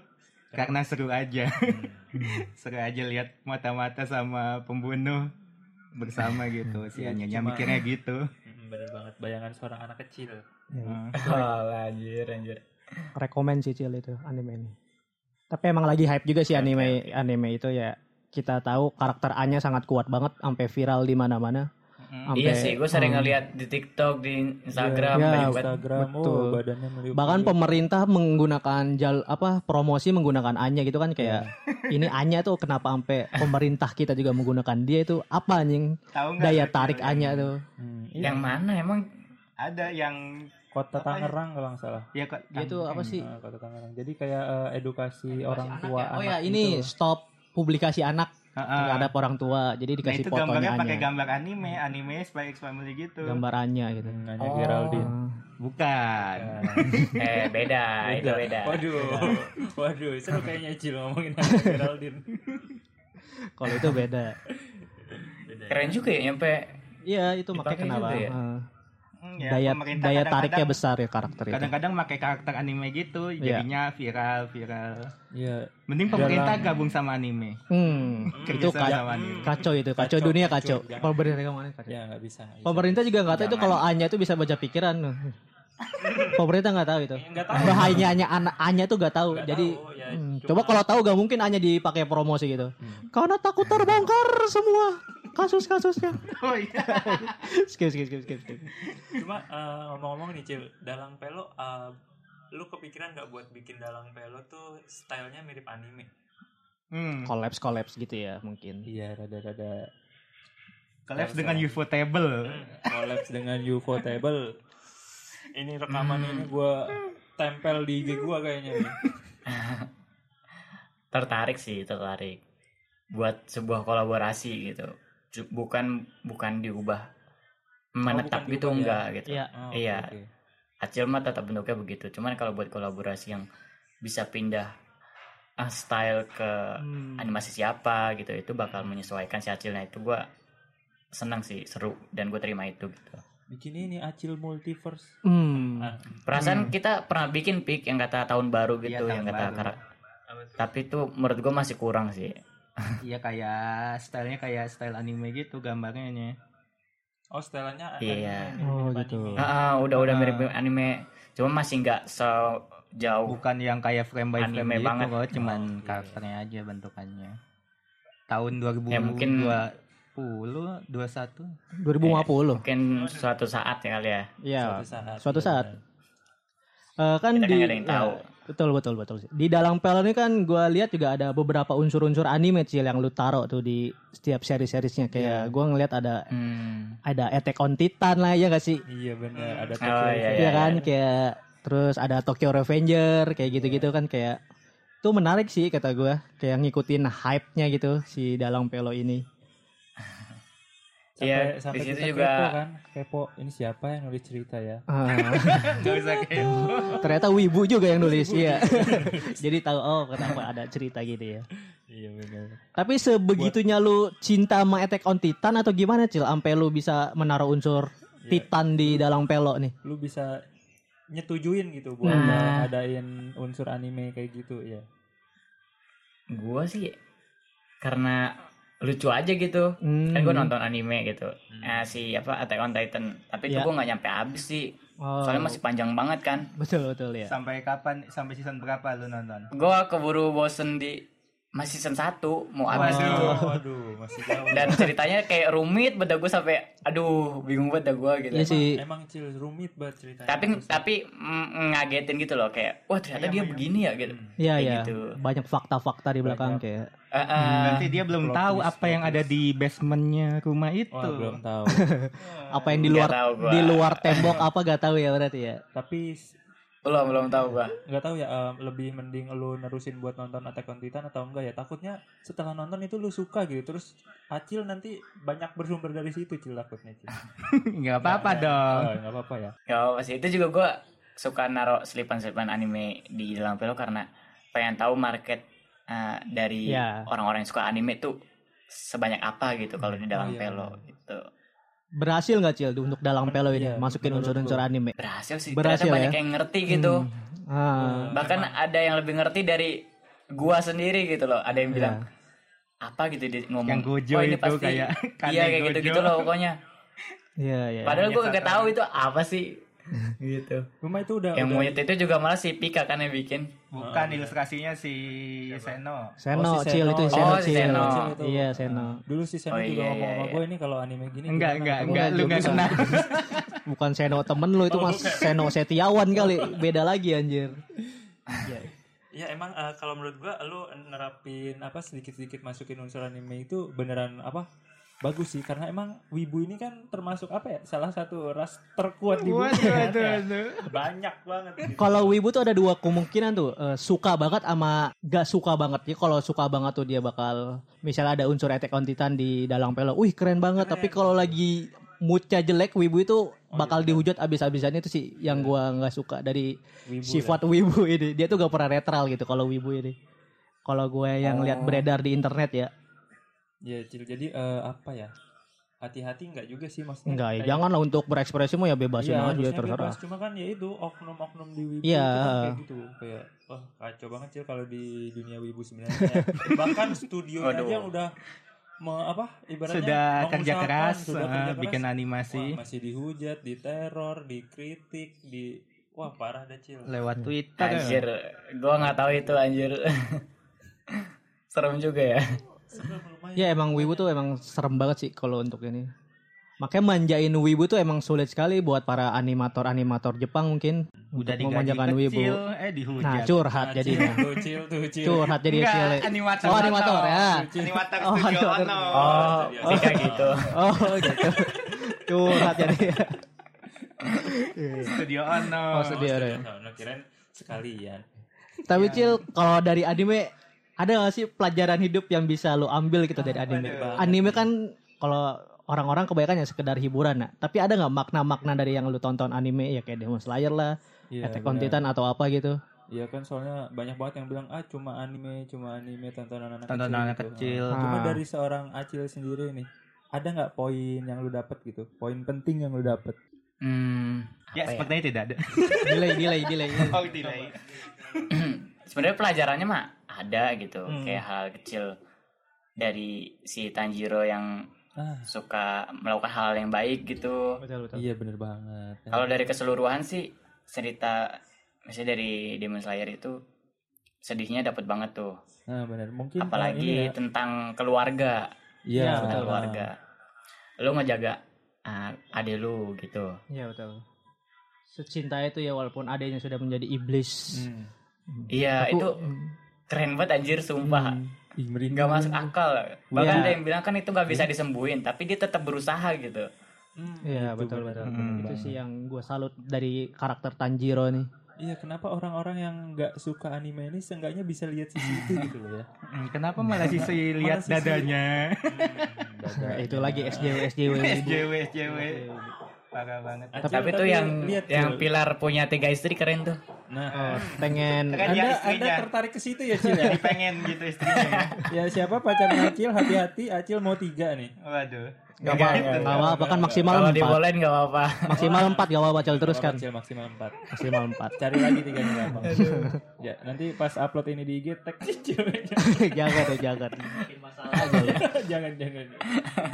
Speaker 3: karena seru aja
Speaker 5: Hmm.
Speaker 3: seru aja lihat mata-mata sama pembunuh bersama gitu si
Speaker 5: Iya,
Speaker 3: Anyanya
Speaker 5: cuma-
Speaker 3: mikirnya gitu
Speaker 5: Mm, bener banget bayangan seorang anak kecil
Speaker 3: Heeh.
Speaker 2: Iya.
Speaker 1: Oh, anjir, anjir.
Speaker 2: rekomend sih Cil itu anime ini. Tapi emang lagi hype juga sih anime anime itu ya. Kita tahu karakter A-nya sangat kuat banget sampai viral di mana-mana.
Speaker 3: Heeh.
Speaker 1: iya
Speaker 2: Sampai,
Speaker 1: sih, gue sering
Speaker 2: hmm.
Speaker 1: ngeliat di TikTok, di Instagram,
Speaker 2: Iya,
Speaker 5: Ya,
Speaker 1: banyak banget.
Speaker 5: Instagram
Speaker 2: Betul.
Speaker 5: oh badannya meliuk
Speaker 2: Bahkan pemerintah menggunakan jal apa promosi menggunakan A-nya gitu kan kayak ini A-nya tuh kenapa sampai pemerintah kita juga menggunakan dia itu apa anjing
Speaker 3: tahu nggak
Speaker 2: daya
Speaker 3: lu,
Speaker 2: tarik
Speaker 3: Cil, yang-
Speaker 2: A-nya tuh.
Speaker 1: Yang mana emang?
Speaker 3: ada yang
Speaker 5: Hmm, iya, kota
Speaker 3: Apa ya?
Speaker 5: Tangerang kalau nggak salah
Speaker 3: ya kok
Speaker 2: Dia tuh Gitu, apa sih?
Speaker 5: Nah, kota Tangerang jadi kayak eh, edukasi, orang
Speaker 2: Anak
Speaker 5: tua
Speaker 2: ya?
Speaker 5: anak
Speaker 2: Oh ya ini
Speaker 5: gitu.
Speaker 2: stop publikasi anak
Speaker 3: Heeh.
Speaker 2: terhadap orang tua. Jadi
Speaker 3: Ah. nah
Speaker 2: dikasih
Speaker 3: itu
Speaker 2: fotonya
Speaker 3: gambarnya pakai
Speaker 2: A-nya.
Speaker 3: gambar anime anime Spy X Family gitu
Speaker 2: Gambarannya gitu.
Speaker 5: Hmm, nanya
Speaker 1: Oh.
Speaker 5: Geraldine Ya.
Speaker 3: bukan
Speaker 1: Eh, beda, itu beda.
Speaker 5: waduh waduh seru kayaknya Cil ngomongin nanya Geraldine
Speaker 2: Kalau itu beda.
Speaker 5: Beda.
Speaker 1: Keren juga ya, nyampe
Speaker 2: Iya itu makanya
Speaker 1: Dipakai
Speaker 2: kenapa
Speaker 1: juga ya?
Speaker 2: eh,
Speaker 3: Hmm, ya,
Speaker 2: daya
Speaker 3: pemerintah
Speaker 2: daya
Speaker 3: kadang-kadang-
Speaker 2: tariknya besar ya karakter itu.
Speaker 3: kadang-kadang pakai karakter anime gitu
Speaker 2: Iya.
Speaker 3: jadinya viral viral
Speaker 5: Iya,
Speaker 3: mending pemerintah gabung sama anime
Speaker 2: Hmm, itu
Speaker 3: kerjasama
Speaker 2: ka-
Speaker 3: sama anime
Speaker 2: kacau itu, kacau,
Speaker 5: Kacau,
Speaker 2: dunia kacau.
Speaker 5: kacau. Jangan.
Speaker 2: Pemerintah kemana kacau.
Speaker 5: ya nggak bisa nggak bisa.
Speaker 2: Pemerintah juga nggak tahu itu kalau A-nya itu bisa baca pikiran. Pemerintah Iya, nggak tahu itu. Bahayanya hanya anak A-nya tuh nggak tahu.
Speaker 5: Nggak
Speaker 2: Jadi
Speaker 5: tahu, ya,
Speaker 2: hmm,
Speaker 5: cuma-
Speaker 2: coba kalau tahu gak mungkin A-nya dipakai promosi gitu. Karena takut terbongkar semua kasus-kasusnya.
Speaker 3: oh iya
Speaker 2: skip skip skip skip. skip.
Speaker 5: Cuma eh, ngomong-ngomong nih Cil, dalang pelo eh, lu kepikiran nggak buat bikin dalang pelo tuh stylenya mirip anime?
Speaker 3: hmm.
Speaker 2: Collapse collapse gitu ya mungkin.
Speaker 5: Iya, rada-rada
Speaker 3: collapse dengan UFO table
Speaker 5: Hmm. collapse dengan UFO table. Ini rekaman ini
Speaker 2: Hmm.
Speaker 5: gua tempel di IG gua kayaknya nih.
Speaker 1: tertarik sih tertarik buat sebuah kolaborasi gitu Ju- bukan bukan diubah menetap
Speaker 5: bukan
Speaker 1: gitu
Speaker 5: diubah ya?
Speaker 1: enggak gitu
Speaker 2: Iya.
Speaker 5: Oh, oke,
Speaker 1: Iya.
Speaker 5: oke.
Speaker 1: hasil mah tetap bentuknya begitu cuman kalau buat kolaborasi yang bisa pindah ah, style ke
Speaker 2: Hmm.
Speaker 5: Eh,
Speaker 1: animasi siapa gitu itu bakal menyesuaikan si hasilnya itu gua senang sih seru dan gue terima itu gitu
Speaker 5: Bikin ini Acil Multiverse.
Speaker 2: Hmm.
Speaker 5: Ah,
Speaker 1: perasaan kita pernah bikin pick yang kata tahun baru gitu
Speaker 3: Iya, tahun
Speaker 1: yang kata
Speaker 3: baru.
Speaker 1: karak- tapi itu menurut gue masih kurang sih
Speaker 3: iya kayak stylenya kayak style anime gitu gambarnya
Speaker 5: Oh, stylenya
Speaker 1: Iya.
Speaker 5: anime,
Speaker 2: Oh,
Speaker 5: mirip
Speaker 2: gitu.
Speaker 5: anime.
Speaker 1: Ah, ah, udah udah
Speaker 3: Ah.
Speaker 1: mirip anime, cuma masih nggak sejauh.
Speaker 3: bukan yang kayak frame by frame
Speaker 1: Anime
Speaker 3: gitu
Speaker 1: banget.
Speaker 3: kok cuman
Speaker 5: Oh, iya.
Speaker 3: karakternya aja bentukannya tahun 2020
Speaker 1: Ya, mungkin-
Speaker 3: 20, 21
Speaker 2: 2050.
Speaker 1: Mungkin suatu saat ya kali ya.
Speaker 2: Iya.
Speaker 5: Suatu saat.
Speaker 2: Suatu
Speaker 5: iya,
Speaker 2: saat.
Speaker 5: benar.
Speaker 2: Eh, kan
Speaker 1: Kita
Speaker 2: di
Speaker 1: nggak ada yang
Speaker 2: ya,
Speaker 1: tahu.
Speaker 2: betul betul betul sih. Di dalam pel ini kan gua lihat juga ada beberapa unsur-unsur anime sih yang lu taruh tuh di setiap
Speaker 1: Iya.
Speaker 2: seri-serisnya kayak gua ngelihat ada
Speaker 1: Hmm.
Speaker 2: ada Attack on Titan lah ya gak sih?
Speaker 5: Iya benar, ada
Speaker 1: Oh, iya, Iya.
Speaker 2: Iya kan kayak terus ada Tokyo Revenger kayak gitu-gitu kan kayak itu menarik sih kata gua kayak ngikutin hype-nya gitu si dalang pelo ini.
Speaker 5: Sampai,
Speaker 1: Iya,
Speaker 5: sampai
Speaker 1: di situ
Speaker 5: kita
Speaker 1: juga-
Speaker 5: kepo kan. Kepo ini siapa yang nulis cerita ya?
Speaker 2: Ah,
Speaker 3: Nggak usah kayak
Speaker 2: ternyata Wibu juga yang nulis iya. Jadi tahu oh kenapa ada cerita gitu ya.
Speaker 5: Iya benar.
Speaker 2: Tapi sebegitunya lu cinta sama Attack on Titan atau gimana Cil? Sampai lu bisa menaruh unsur
Speaker 5: Iya.
Speaker 2: Titan di dalam pelo nih.
Speaker 5: Lu bisa nyetujuin gitu buat
Speaker 1: Nah.
Speaker 5: adain unsur anime kayak gitu ya.
Speaker 1: Gue sih karena lucu aja gitu. Kan
Speaker 2: Hmm.
Speaker 1: gue nonton anime gitu. Eh, si apa Attack on Titan. Tapi itu
Speaker 2: Iya.
Speaker 1: gue nggak nyampe habis sih.
Speaker 2: Oh,
Speaker 1: Soalnya masih panjang banget kan.
Speaker 2: betul betul ya.
Speaker 3: Iya. sampai kapan sampai season berapa lu nonton
Speaker 1: Gue keburu bosen di masih season 1 mau
Speaker 3: Oh.
Speaker 1: habis gitu.
Speaker 5: waduh, masih jauh.
Speaker 1: Dan ceritanya kayak rumit beda gue sampai aduh bingung banget dah gue gitu.
Speaker 2: Iya sih.
Speaker 5: Emang cil rumit banget ceritanya.
Speaker 1: tapi tapi mm, ngagetin gitu loh kayak wah ternyata
Speaker 5: iya.
Speaker 1: dia begini ya gitu
Speaker 5: Hmm.
Speaker 2: Iya
Speaker 1: Kayak
Speaker 2: iya.
Speaker 1: gitu.
Speaker 2: Banyak fakta-fakta di belakang kayak.
Speaker 1: Eh, eh,
Speaker 3: berarti dia belum
Speaker 5: Plot
Speaker 3: tahu
Speaker 5: twist,
Speaker 3: apa yang
Speaker 5: plot
Speaker 3: ada di basementnya rumah itu
Speaker 5: Wah, belum tahu.
Speaker 2: Apa yang di
Speaker 1: Nggak
Speaker 2: luar
Speaker 1: tahu gua.
Speaker 2: di luar tembok apa gak tahu ya berarti ya.
Speaker 5: tapi s-
Speaker 1: belum belum tahu gua
Speaker 5: nggak tahu ya em, lebih mending lu nerusin buat nonton Attack on Titan atau enggak ya. Takutnya setelah nonton itu lu suka gitu. Terus acil nanti banyak bersumber dari situ cil takutnya cil.
Speaker 1: Ah.
Speaker 3: nggak apa-apa dong
Speaker 5: Oh, nggak apa-apa ya.
Speaker 1: ya pasti itu juga gua suka naruh selipan selipan anime di dalam film karena pengen tahu market eh, dari
Speaker 2: Iya.
Speaker 1: orang-orang yang suka anime tuh sebanyak apa gitu kalau di dalam
Speaker 5: iya,
Speaker 1: pelo
Speaker 5: benar.
Speaker 1: gitu
Speaker 2: Berhasil gak Cil untuk dalang pelo ini
Speaker 5: Iya,
Speaker 2: masukin
Speaker 5: menurut
Speaker 2: unsur-unsur
Speaker 5: gua.
Speaker 2: anime?
Speaker 1: berhasil sih
Speaker 2: Berhasil
Speaker 1: ternyata banyak gitu.
Speaker 2: ya?
Speaker 1: yang ngerti gitu
Speaker 2: Hmm. Ah,
Speaker 1: bahkan ada yang lebih ngerti dari gua sendiri gitu loh ada yang bilang apa gitu dia ngomong
Speaker 3: Iya. yang gojo
Speaker 1: "Wah,
Speaker 3: itu kayak
Speaker 1: iya kayak gitu gitu loh pokoknya
Speaker 2: Iya, iya.
Speaker 1: padahal gua
Speaker 3: menyesatkan.
Speaker 1: kagak tahu itu apa sih gitu
Speaker 5: Rumah itu udah
Speaker 1: yang
Speaker 5: udah-
Speaker 1: monyet itu juga malah si Pika kan yang bikin
Speaker 3: bukan ilustrasinya si Seno
Speaker 2: Seno,
Speaker 5: Oh, si
Speaker 2: Cil
Speaker 5: Seno.
Speaker 2: itu
Speaker 5: Oh,
Speaker 2: Seno,
Speaker 1: si
Speaker 2: Cil.
Speaker 1: Seno.
Speaker 5: itu.
Speaker 2: Iya, Seno.
Speaker 5: dulu sih
Speaker 1: Oh,
Speaker 5: Seno
Speaker 1: iya,
Speaker 5: juga ngomong
Speaker 1: iya,
Speaker 5: sama
Speaker 1: iya.
Speaker 5: gue ini kalau anime gini
Speaker 3: enggak
Speaker 5: gimana?"
Speaker 3: enggak
Speaker 5: Kamu
Speaker 3: enggak lu enggak kenal
Speaker 2: Bukan Seno temen lu itu Mas Seno Setiawan kali. Beda lagi anjir.
Speaker 5: Ya emang eh, kalau menurut gua lu nerapin apa sedikit-sedikit masukin unsur anime itu beneran apa bagus sih karena emang wibu ini kan termasuk apa ya salah satu ras terkuat di bumi
Speaker 3: Waduh,
Speaker 5: kan,
Speaker 3: waduh,
Speaker 5: ya.
Speaker 3: waduh.
Speaker 5: banyak banget gitu.
Speaker 2: Kalau wibu tuh ada dua kemungkinan tuh, eh, suka banget sama gak suka banget. Jadi kalau suka banget tuh dia bakal misalnya ada unsur Attack on Titan di dalang pelo. Wih, keren banget. Tapi kalau lagi moodnya jelek wibu itu bakal dihujat abis-abisan itu sih yang gua nggak suka dari
Speaker 5: Wibu
Speaker 2: sifat wibu ini. Dia tuh gak pernah netral gitu kalau wibu ini. Kalau gue yang lihat beredar di internet ya,
Speaker 5: Ya, Cil. Jadi eh, apa ya? Hati-hati enggak juga sih maksudnya.
Speaker 2: enggak ya,
Speaker 5: Kayak-
Speaker 2: janganlah untuk berekspresi mau ya
Speaker 5: Iya,
Speaker 2: bebasin aja
Speaker 5: harusnya
Speaker 2: terserah.
Speaker 5: bebas. Cuma kan ya itu oknum-oknum di Wibu
Speaker 2: Iya.
Speaker 5: itu kan kayak gitu. Kayak wah kacau banget Cil kalau di dunia Wibu sebenarnya. Bahkan studio
Speaker 1: Waduh.
Speaker 5: aja udah me- apa ibaratnya
Speaker 3: sudah kerja
Speaker 5: mengusahakan,
Speaker 3: keras,
Speaker 5: sudah
Speaker 3: eh,
Speaker 5: kerja keras.
Speaker 3: bikin animasi
Speaker 5: Wah, masih dihujat, diteror, dikritik, di wah parah dah Cil.
Speaker 3: lewat Twitter
Speaker 1: anjir gua nggak tahu itu anjir serem juga ya
Speaker 5: Serem lumayan.
Speaker 2: Ya emang wibu tuh emang serem banget sih kalau untuk ini. Makanya manjain wibu tuh emang sulit sekali buat para animator-animator Jepang mungkin untuk
Speaker 3: udah digaji
Speaker 2: memanjakan
Speaker 3: kecil
Speaker 2: wibu.
Speaker 3: eh
Speaker 2: Nah,
Speaker 3: dihujat
Speaker 5: Nah,
Speaker 2: curhat
Speaker 5: Cil,
Speaker 2: jadinya.
Speaker 5: tuh Cil, tuh Cil.
Speaker 2: Curhat jadi
Speaker 3: Enggak,
Speaker 2: Cil.
Speaker 3: animator
Speaker 2: Oh, animator
Speaker 3: Ono.
Speaker 2: ya.
Speaker 3: animator
Speaker 2: Oh,
Speaker 3: studio
Speaker 2: animator.
Speaker 3: Ono.
Speaker 1: oh Pika gitu
Speaker 2: Oh, gitu. curhat jadi.
Speaker 3: studio Ono
Speaker 2: Oh, sedih ada ya.
Speaker 5: Nah, nah, kirain sekalian.
Speaker 2: Tapi
Speaker 5: Iya.
Speaker 2: Cil, kalau dari anime ada gak sih pelajaran hidup yang bisa lo ambil gitu dari anime? Anime kan kalau orang-orang kebanyakan ya sekedar hiburan nah. Tapi ada nggak makna-makna dari yang lu tonton anime ya kayak Demon Slayer lah,
Speaker 5: Iya,
Speaker 2: Attack on
Speaker 5: benar.
Speaker 2: Titan atau apa gitu?
Speaker 5: Iya kan soalnya banyak banget yang bilang ah cuma anime, cuma anime tontonan anak
Speaker 3: tonton anak
Speaker 5: gitu.
Speaker 3: kecil
Speaker 5: Nah, Cuma
Speaker 2: Ah.
Speaker 5: dari seorang Acil sendiri nih, ada nggak poin yang lu dapat gitu? Poin penting yang lu dapat?
Speaker 1: hmm,
Speaker 3: ya
Speaker 1: apa
Speaker 3: sepertinya tidak ada
Speaker 2: delay delay delay
Speaker 3: oh delay
Speaker 1: sebenarnya pelajarannya mah ada gitu
Speaker 5: Hmm.
Speaker 1: kayak hal kecil dari si Tanjiro yang
Speaker 5: Ah.
Speaker 1: suka melakukan hal yang baik gitu
Speaker 5: Iya bener banget.
Speaker 1: kalau dari keseluruhan sih cerita misalnya dari Demon Slayer itu sedihnya dapat banget tuh
Speaker 5: Nah bener mungkin uh, ini
Speaker 1: apalagi
Speaker 5: ya.
Speaker 1: tentang keluarga
Speaker 5: Iya
Speaker 1: tentang
Speaker 5: betul.
Speaker 1: keluarga lu ngejaga ah, adik lu gitu
Speaker 2: Iya betul. Secinta itu ya walaupun adanya sudah menjadi iblis.
Speaker 5: Hmm.
Speaker 1: iya
Speaker 2: Aku- hmm.
Speaker 1: itu keren banget anjir
Speaker 5: Hmm.
Speaker 1: sumpah
Speaker 5: Ih, merinding.
Speaker 1: nggak masuk akal bahkan
Speaker 2: Hmm. Iya.
Speaker 1: ada yang bilang kan itu nggak bisa disembuhin tapi dia tetap berusaha gitu
Speaker 5: Hmm,
Speaker 2: Iya
Speaker 5: gitu,
Speaker 2: betul
Speaker 5: bener.
Speaker 2: betul.
Speaker 3: Hmm.
Speaker 2: Itu sih yang gue salut dari karakter Tanjiro nih.
Speaker 5: Iya kenapa orang-orang yang nggak suka anime ini seenggaknya bisa lihat sisi itu gitu loh ya?
Speaker 3: Hmm, kenapa malah sisi lihat
Speaker 5: sisi?
Speaker 3: dadanya
Speaker 5: Dada-
Speaker 2: itu lagi SJW SJW.
Speaker 3: SJW SJW parah banget
Speaker 5: Acil,
Speaker 1: tapi itu yang
Speaker 5: lihat
Speaker 1: yang
Speaker 5: Cil.
Speaker 1: pilar punya tiga istri keren tuh
Speaker 5: Nah,
Speaker 2: Oh, Pengen
Speaker 1: Kan
Speaker 3: Keren
Speaker 5: anda,
Speaker 3: ya
Speaker 5: anda
Speaker 3: istrinya
Speaker 5: tertarik ke situ ya Cil? ya?
Speaker 3: jadi pengen gitu istrinya ya.
Speaker 5: ya siapa pacarnya Acil? Hati-hati Acil mau tiga nih.
Speaker 3: waduh
Speaker 2: nggak apa-apa, nggak apa-apa kan maksimal
Speaker 1: kalau
Speaker 2: empat,
Speaker 1: dibolehin nggak apa-apa
Speaker 2: maksimal empat gak apa-apa Cil, terus kan
Speaker 5: Acil maksimal empat.
Speaker 2: maksimal empat.
Speaker 5: Cari lagi tiga nih gampang. ya nanti pas upload ini di IG tag Cil.
Speaker 2: jangan tuh jangan.
Speaker 5: jangan jangan.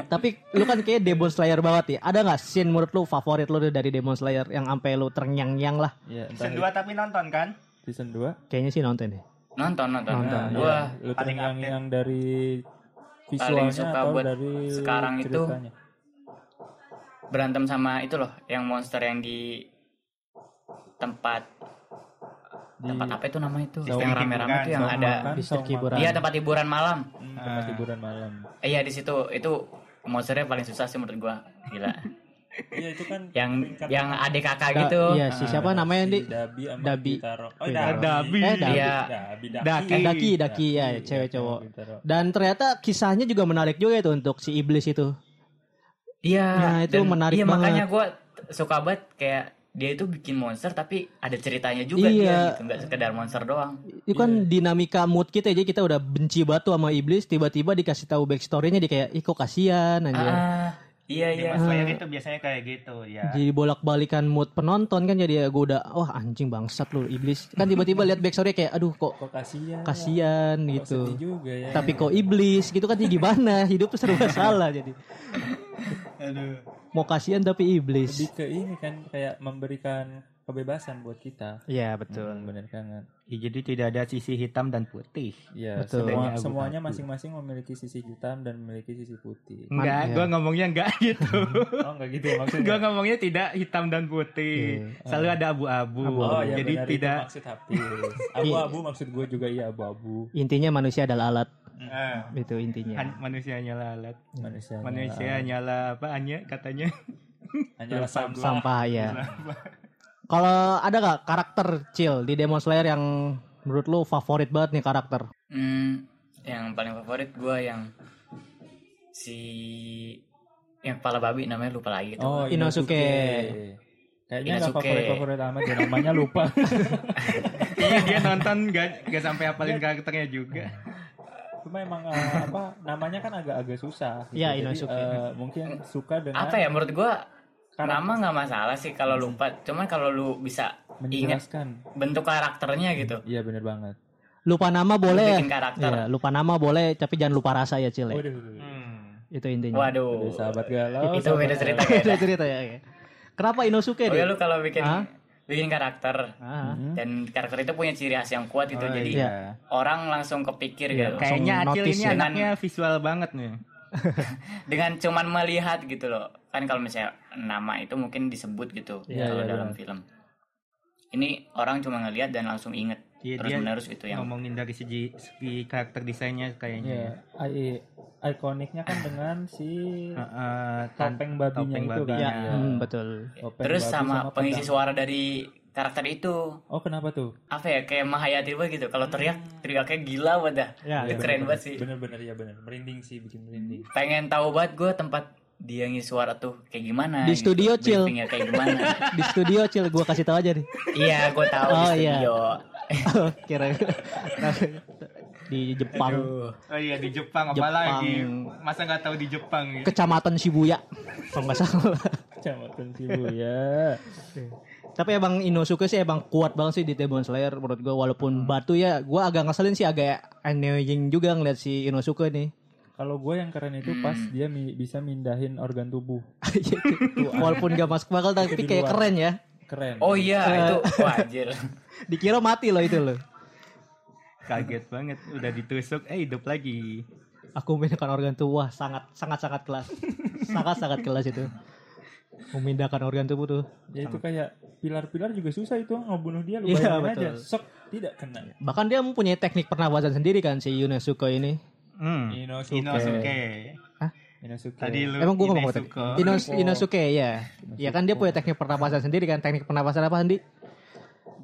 Speaker 2: Tapi lu kan kayak Demon Slayer banget ya. Ada nggak scene menurut lu favorit lu dari Demon Slayer yang sampai lu ternyang-nyang lah?
Speaker 5: Ya, entah
Speaker 3: Season 2 tapi nonton kan
Speaker 5: season 2.
Speaker 2: Kayaknya sih nonton ya.
Speaker 1: nonton nonton,
Speaker 2: Nonton, iya.
Speaker 1: Nah, gua
Speaker 5: lu
Speaker 3: paling
Speaker 5: yang
Speaker 3: update.
Speaker 5: yang dari
Speaker 1: Paling
Speaker 5: visualnya
Speaker 1: suka
Speaker 5: atau
Speaker 1: buat
Speaker 5: dari
Speaker 1: sekarang itu.
Speaker 5: ceritanya?
Speaker 1: berantem sama itu loh yang monster yang di tempat tempat
Speaker 2: Iya.
Speaker 1: apa itu namanya itu
Speaker 3: Saung
Speaker 1: yang rame-rame
Speaker 3: hiburan,
Speaker 1: itu yang
Speaker 3: saung
Speaker 1: ada
Speaker 5: Makan,
Speaker 2: Mister
Speaker 5: saung
Speaker 2: Kiburan.
Speaker 1: iya tempat hiburan malam
Speaker 5: makan, hmm, tempat hiburan malam.
Speaker 1: Eh, iya di situ itu monsternya paling susah sih menurut gua gila
Speaker 5: Iya itu kan
Speaker 1: yang
Speaker 5: peringkat kan
Speaker 1: yang adik kakak
Speaker 2: Da-
Speaker 1: gitu
Speaker 2: Iya si siapa namanya
Speaker 5: si
Speaker 2: di?
Speaker 5: Dabi sama
Speaker 2: Dabi.
Speaker 5: Kitaro. Oh,
Speaker 2: Eh,
Speaker 5: Dabi.
Speaker 3: Dabi.
Speaker 2: Eh Dabi.
Speaker 1: Iya.
Speaker 5: Dabi,
Speaker 3: Daki.
Speaker 2: Eh, Daki, Daki, ya, cewek cowok.
Speaker 5: Kitaro.
Speaker 2: Dan ternyata kisahnya juga menarik juga itu untuk si iblis itu.
Speaker 1: Iya,
Speaker 2: Nah, itu menarik
Speaker 1: iya,
Speaker 2: banget.
Speaker 1: makanya gue suka banget kayak dia itu bikin monster tapi ada ceritanya juga
Speaker 2: Iya.
Speaker 1: dia gitu, nggak sekedar monster doang.
Speaker 2: Itu kan dinamika mood kita ya, jadi kita udah benci batu sama iblis tiba-tiba dikasih tahu backstory-nya di kayak ih kok kasihan anjir.
Speaker 1: Ah, Iya
Speaker 3: Di
Speaker 1: iya.
Speaker 3: Mas Layar itu biasanya kayak gitu
Speaker 5: Iya.
Speaker 3: ya.
Speaker 2: Jadi bolak-balikan mood penonton kan jadi ya gue udah wah anjing bangsat lu iblis. Kan tiba-tiba lihat backstory kayak aduh kok
Speaker 5: Kok kasihan. ya?
Speaker 2: kasihan
Speaker 5: Kok
Speaker 2: gitu.
Speaker 5: sedih juga ya.
Speaker 2: Tapi kok iblis gitu kan jadi gimana? Hidup tuh serba salah jadi.
Speaker 3: Aduh.
Speaker 2: Mau kasihan tapi
Speaker 5: lebih
Speaker 2: iblis.
Speaker 5: ke ini kan kayak memberikan kebebasan buat kita.
Speaker 3: Iya betul.
Speaker 5: Hmm, bener kan?
Speaker 3: Ya, jadi tidak ada sisi hitam dan putih.
Speaker 5: Iya,
Speaker 2: Betul.
Speaker 5: semua,
Speaker 3: Adanya abu-abu.
Speaker 5: semuanya masing-masing memiliki sisi hitam dan memiliki sisi putih.
Speaker 3: Enggak,
Speaker 2: Iya.
Speaker 3: gua ngomongnya enggak gitu.
Speaker 5: Oh, enggak gitu
Speaker 3: gua
Speaker 5: maksudnya. Iya,
Speaker 3: ngomongnya tidak hitam dan putih. Selalu ada abu-abu.
Speaker 5: Oh, ya
Speaker 3: jadi
Speaker 5: benar, itu
Speaker 3: tidak
Speaker 5: maksud Hafiz. Abu-abu maksud gue juga iya abu-abu.
Speaker 2: Intinya manusia adalah alat
Speaker 3: Eh,
Speaker 1: Ah.
Speaker 2: itu
Speaker 5: Iya.
Speaker 2: intinya.
Speaker 3: an- manusianya lah alat.
Speaker 5: Manusia.
Speaker 3: Manusia nyala apa Anya katanya.
Speaker 5: hanyalah sampah.
Speaker 2: Sampah ya. Kalau ada gak karakter chill di Demon Slayer yang menurut lu favorit banget nih karakter?
Speaker 1: Hmm, yang paling favorit gue yang si yang kepala babi namanya lupa lagi tuh.
Speaker 5: Oh,
Speaker 2: Inosuke.
Speaker 5: Kayaknya nggak
Speaker 1: Inosuke.
Speaker 5: favorit-favorit amat ya namanya lupa.
Speaker 3: Iya, dia nonton gak, gak sampai
Speaker 1: Iya.
Speaker 3: hafalin karakternya juga.
Speaker 5: Cuma emang eh, apa namanya kan agak-agak susah. gitu.
Speaker 2: Iya,
Speaker 5: Jadi,
Speaker 2: Inosuke.
Speaker 5: eh, mungkin suka
Speaker 2: iya.
Speaker 5: dengan
Speaker 1: Apa ya menurut gue
Speaker 5: Karakter.
Speaker 1: nama nggak masalah sih kalau lupa. Cuman kalau lu bisa ingat
Speaker 5: menjelaskan.
Speaker 1: bentuk karakternya gitu.
Speaker 5: Iya bener banget.
Speaker 2: Lupa nama boleh.
Speaker 1: Bikin karakter.
Speaker 2: Iya, lupa nama boleh tapi jangan lupa rasa ya Cil. ya.
Speaker 5: Waduh.
Speaker 3: Hmm.
Speaker 2: Itu intinya.
Speaker 1: Waduh.
Speaker 5: Waduh, sahabat galau.
Speaker 2: Oh,
Speaker 1: Itu
Speaker 5: sahabat
Speaker 1: beda cerita
Speaker 5: galau.
Speaker 1: beda.
Speaker 2: Itu cerita ya. oke. Kenapa Inosuke
Speaker 1: Oh ya
Speaker 2: deh?
Speaker 1: lu kalau bikin
Speaker 2: Hah?
Speaker 1: bikin karakter
Speaker 2: Ah,
Speaker 5: Hmm.
Speaker 1: dan karakter itu punya ciri khas yang kuat gitu.
Speaker 3: Oh,
Speaker 1: jadi
Speaker 2: iya.
Speaker 1: orang langsung kepikir gitu.
Speaker 3: Kayaknya Acil
Speaker 2: notice
Speaker 3: ini
Speaker 2: ya.
Speaker 3: anaknya visual banget nih.
Speaker 1: dengan cuman melihat gitu loh kan kalau misalnya nama itu mungkin disebut gitu
Speaker 5: Iya,
Speaker 1: kalau
Speaker 5: iya,
Speaker 1: dalam film ini orang cuma ngelihat dan langsung inget
Speaker 3: Iya,
Speaker 1: terus
Speaker 3: dia
Speaker 1: menerus gitu yang
Speaker 3: Ngomongin dari segi, segi karakter desainnya kayaknya.
Speaker 5: Iya, i- ikoniknya kan dengan si
Speaker 3: Heeh, tan-
Speaker 5: topeng babinya
Speaker 3: topeng
Speaker 1: Ah,
Speaker 2: Ya,
Speaker 5: itu kan.
Speaker 3: babinya.
Speaker 5: Iya.
Speaker 2: hmm, betul.
Speaker 5: Topeng
Speaker 1: terus
Speaker 5: babi
Speaker 1: sama, pengisi
Speaker 5: pedang.
Speaker 1: suara dari karakter itu
Speaker 5: Oh, kenapa tuh?
Speaker 1: apa ya kayak Mahayati banget gitu kalau teriak teriaknya gila banget dah
Speaker 2: Ya,
Speaker 1: itu keren banget sih
Speaker 5: Bener-bener ya bener. Merinding sih, bikin merinding.
Speaker 1: pengen tahu banget gue tempat dia ngisi suara tuh kayak gimana gitu.
Speaker 2: Di studio, Cil.
Speaker 1: briefingnya kayak gimana
Speaker 2: Di studio Cil gua kasih tahu aja nih.
Speaker 1: iya gue tahu di
Speaker 2: Oh, iya.
Speaker 1: studio
Speaker 2: Kira di Jepang,
Speaker 3: Oh iya di Jepang,
Speaker 2: Jepang.
Speaker 3: apalagi masa nggak tahu di Jepang ya?
Speaker 2: kecamatan Shibuya. Kalau nggak salah.
Speaker 5: Kecamatan ya. Shibuya.
Speaker 2: Tapi emang Inosuke sih emang kuat banget sih di Demon Slayer menurut gua
Speaker 1: Hmm.
Speaker 2: walaupun batu ya gua agak ngeselin sih agak annoying juga ngeliat si Inosuke nih.
Speaker 5: Kalau gue yang keren itu pas dia mi- bisa mindahin organ tubuh.
Speaker 2: Iya, itu. walaupun gak masuk akal tapi kayak keren ya.
Speaker 5: Keren.
Speaker 1: oh iya
Speaker 2: Eh.
Speaker 1: itu wajir
Speaker 2: Dikira mati loh itu loh.
Speaker 3: Kaget banget, udah ditusuk, eh hidup lagi.
Speaker 2: Aku memindahkan organ tubuh wah sangat sangat sangat kelas. sangat sangat kelas itu. Memindahkan organ tubuh tuh.
Speaker 5: Ya itu kayak pilar-pilar juga susah itu ngebunuh dia lu
Speaker 2: Iya,
Speaker 5: bayangin
Speaker 2: betul.
Speaker 5: aja. Sok tidak kena.
Speaker 2: Bahkan dia mempunyai teknik pernapasan sendiri kan si Inosuke ini.
Speaker 3: Hmm.
Speaker 5: Inosuke.
Speaker 3: Inosuke.
Speaker 5: Inosuke.
Speaker 3: Tadi lu
Speaker 2: Emang gua ngomong apa tadi?
Speaker 3: Inezuko.
Speaker 2: Inos, Inosuke ya. Ya kan dia punya teknik pernapasan sendiri kan. Teknik pernapasan apa Andi?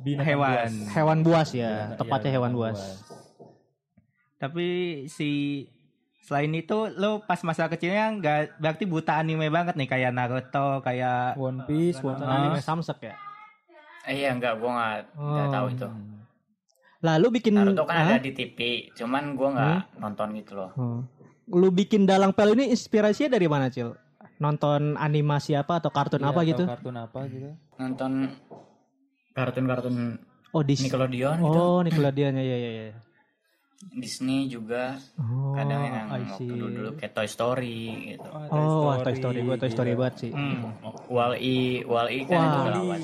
Speaker 5: Binatang
Speaker 3: hewan.
Speaker 5: buas.
Speaker 2: Hewan buas ya.
Speaker 5: Iya,
Speaker 2: Tepatnya hewan buas.
Speaker 3: Tapi si selain itu lu pas masa kecilnya nggak berarti buta anime banget nih kayak Naruto, kayak
Speaker 5: One Piece, One
Speaker 2: Nonton
Speaker 5: Piece.
Speaker 2: anime Samsek ya.
Speaker 1: Eh, iya enggak gue nggak
Speaker 2: Oh.
Speaker 1: nggak tahu itu
Speaker 2: Hmm,
Speaker 5: Iya,
Speaker 2: Lalu bikin
Speaker 1: Naruto kan
Speaker 2: Hah?
Speaker 1: ada di TV, cuman gua nggak nonton gitu loh.
Speaker 2: Hmm. Lu bikin dalang pel ini inspirasinya dari mana, Cil? Nonton animasi apa atau kartun
Speaker 5: Iya,
Speaker 2: apa
Speaker 5: atau
Speaker 2: gitu?
Speaker 5: Kartun apa gitu.
Speaker 1: Nonton kartun-kartun
Speaker 2: Oh, Dis
Speaker 1: Nickelodeon gitu,
Speaker 2: Oh, Nickelodeon ya ya ya. ya.
Speaker 1: Disney juga,
Speaker 2: Oh,
Speaker 1: kadang yang
Speaker 2: I
Speaker 1: waktu kan
Speaker 2: see.
Speaker 1: dulu, dulu kayak Toy Story gitu.
Speaker 2: Oh, wah, Toy Story Iya, gue Toy
Speaker 5: iya.
Speaker 2: Story banget sih.
Speaker 3: hmm,
Speaker 1: Wall-E, Wall-E kan itu
Speaker 2: Wall-E.
Speaker 1: lawan.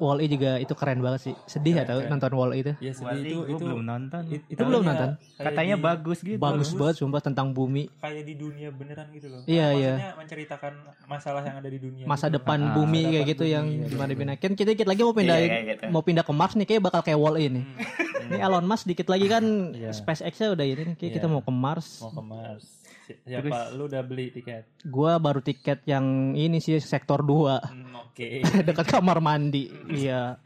Speaker 2: Wall-E juga itu keren banget sih. Sedih ya tau nonton Wall-E itu.
Speaker 5: Ya sedih
Speaker 3: Wali
Speaker 5: itu
Speaker 3: gua
Speaker 5: itu
Speaker 3: belum nonton.
Speaker 5: it- itu
Speaker 2: Lu belum
Speaker 5: kayak-
Speaker 2: nonton?
Speaker 5: kayak
Speaker 3: Katanya
Speaker 5: di-
Speaker 3: bagus gitu.
Speaker 2: Bagus banget sumpah tentang bumi,
Speaker 5: kayak di dunia beneran gitu loh.
Speaker 2: Iya, iya.
Speaker 5: Maksudnya menceritakan masalah yang ada di dunia.
Speaker 2: masa
Speaker 5: gitu.
Speaker 2: depan
Speaker 3: Ah,
Speaker 2: bumi
Speaker 5: masa
Speaker 2: kayak
Speaker 5: depan
Speaker 2: gitu
Speaker 5: bumi,
Speaker 2: yang
Speaker 5: iya,
Speaker 2: gimana gimana. Kan kita dikit lagi mau pindah
Speaker 1: Iya, kayak gitu.
Speaker 2: mau pindah ke Mars nih kayak bakal kayak Wall-E nih. Ini Elon Musk dikit lagi kan
Speaker 5: Iya.
Speaker 2: SpaceX-nya udah ini kayak kita
Speaker 5: Iya.
Speaker 2: mau ke Mars.
Speaker 5: Mau ke Mars. Si- Siapa lu udah beli tiket?
Speaker 2: Gua baru tiket yang ini sih sektor 2.
Speaker 5: Hmm, Oke.
Speaker 2: dekat kamar mandi iya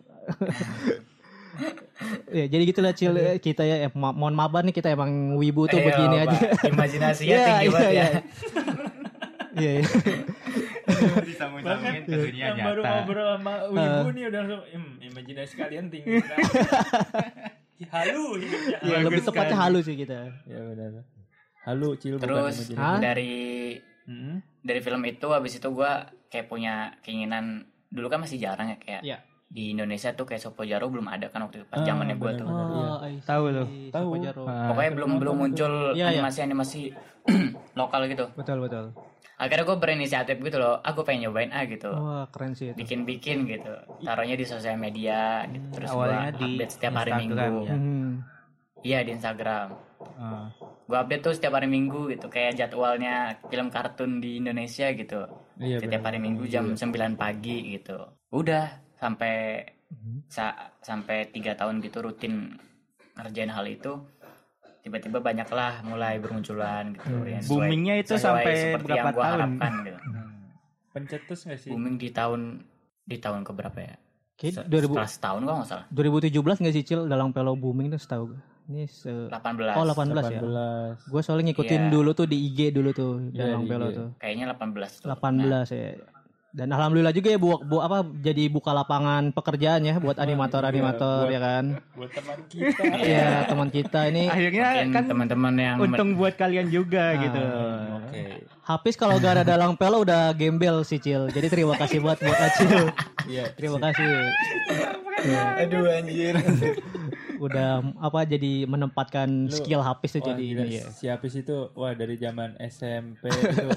Speaker 2: ya jadi gitulah cil kita ya eh, ma- mohon maaf banget nih kita emang wibu tuh
Speaker 1: Ayo,
Speaker 2: begini
Speaker 1: Pak.
Speaker 2: aja
Speaker 1: Eh, Imajinasinya Iya, tinggi banget ya.
Speaker 2: Iya, iya.
Speaker 3: Disambung-sambungin ke dunia
Speaker 5: yang baru
Speaker 3: nyata.
Speaker 5: ngobrol sama Wibu
Speaker 2: Eh.
Speaker 5: nih udah langsung "Im, imajinasi kalian tinggi. sekali." Halu hidupnya.
Speaker 2: Iya, lebih tepatnya halus sih kita
Speaker 5: Ya benar. Halu cil bukan
Speaker 1: Terus
Speaker 5: imajinasi. Hmm.
Speaker 2: Hah?
Speaker 1: dari
Speaker 5: Mm-mm.
Speaker 1: dari film itu habis itu gue kayak punya keinginan dulu kan masih jarang ya kayak
Speaker 2: Iya.
Speaker 1: di Indonesia tuh kayak Sopo Jaro belum ada kan waktu itu pas
Speaker 5: Ah,
Speaker 1: zamannya gue
Speaker 5: benar,
Speaker 1: tuh.
Speaker 5: benar.
Speaker 2: tahu
Speaker 3: Tahu
Speaker 2: lo
Speaker 3: lu.
Speaker 4: Tahu.
Speaker 5: Ah.
Speaker 1: Pokoknya belum belum muncul
Speaker 2: Iya, iya.
Speaker 1: animasi-animasi lokal gitu.
Speaker 3: betul betul
Speaker 1: Akhirnya gue berinisiatif gitu loh, aku pengen nyobain ah gitu.
Speaker 2: Wah keren sih itu.
Speaker 1: Bikin-bikin gitu. Taruhnya di sosial media gitu. Terus gue
Speaker 3: awalnya di
Speaker 1: update setiap hari
Speaker 3: Instagram,
Speaker 1: Minggu.
Speaker 3: ya.
Speaker 2: Hmm.
Speaker 1: Iya di Instagram.
Speaker 3: Ah.
Speaker 1: Gue update tuh setiap hari Minggu gitu, kayak jadwalnya film kartun di Indonesia gitu.
Speaker 4: Iya,
Speaker 1: setiap hari Minggu jam
Speaker 3: Iya.
Speaker 1: 9 pagi gitu. Udah sampai
Speaker 3: Mhm.
Speaker 1: sa- sampai tiga tahun gitu rutin ngerjain hal itu tiba-tiba banyaklah mulai bermunculan gitu ya sesuai-
Speaker 3: Hmm. Boomingnya itu
Speaker 1: sesuai
Speaker 3: sampai
Speaker 1: seperti
Speaker 3: berapa
Speaker 1: yang gua
Speaker 3: tahun? Hmm.
Speaker 1: harapkan gitu.
Speaker 5: Pencetus gak sih?
Speaker 1: booming di tahun di tahun keberapa ya
Speaker 2: Kayak
Speaker 1: Se-
Speaker 2: 2000
Speaker 1: setelah setahun kalau nggak salah
Speaker 2: 2017 nggak sih Cil dalam pelo booming tuh setahu gue. Ini se-
Speaker 1: 18
Speaker 2: oh 18, ya.
Speaker 4: 18.
Speaker 2: Gue soalnya ngikutin
Speaker 1: Iya.
Speaker 2: dulu tuh di IG dulu tuh
Speaker 4: Iya,
Speaker 2: dalam
Speaker 4: di
Speaker 2: pelo
Speaker 4: IG.
Speaker 2: tuh.
Speaker 1: kayaknya 18 tuh.
Speaker 2: 18 ya. Dan alhamdulillah juga ya buat bu apa jadi buka lapangan pekerjaan ya buat
Speaker 4: Iya,
Speaker 2: animator-animator ya kan.
Speaker 5: Buat teman kita.
Speaker 2: Iya, teman kita ini
Speaker 3: akhirnya
Speaker 1: Nah, mungkin
Speaker 3: kan
Speaker 1: teman-teman yang
Speaker 3: untung buat kalian juga
Speaker 2: Ah.
Speaker 3: gitu
Speaker 5: Oke.
Speaker 4: Iya.
Speaker 2: Hafiz kalau gak ada dalang pelo udah gembel sih Cil. Jadi terima kasih buat buat Acil.
Speaker 4: Iya.
Speaker 2: Terima kasih.
Speaker 1: aduh anjir
Speaker 2: Udah apa jadi menempatkan skill Hafiz tuh
Speaker 4: Wah,
Speaker 2: jadi
Speaker 4: gila,
Speaker 2: ini ya.
Speaker 4: Si Apis itu wah dari zaman SMP itu gitu.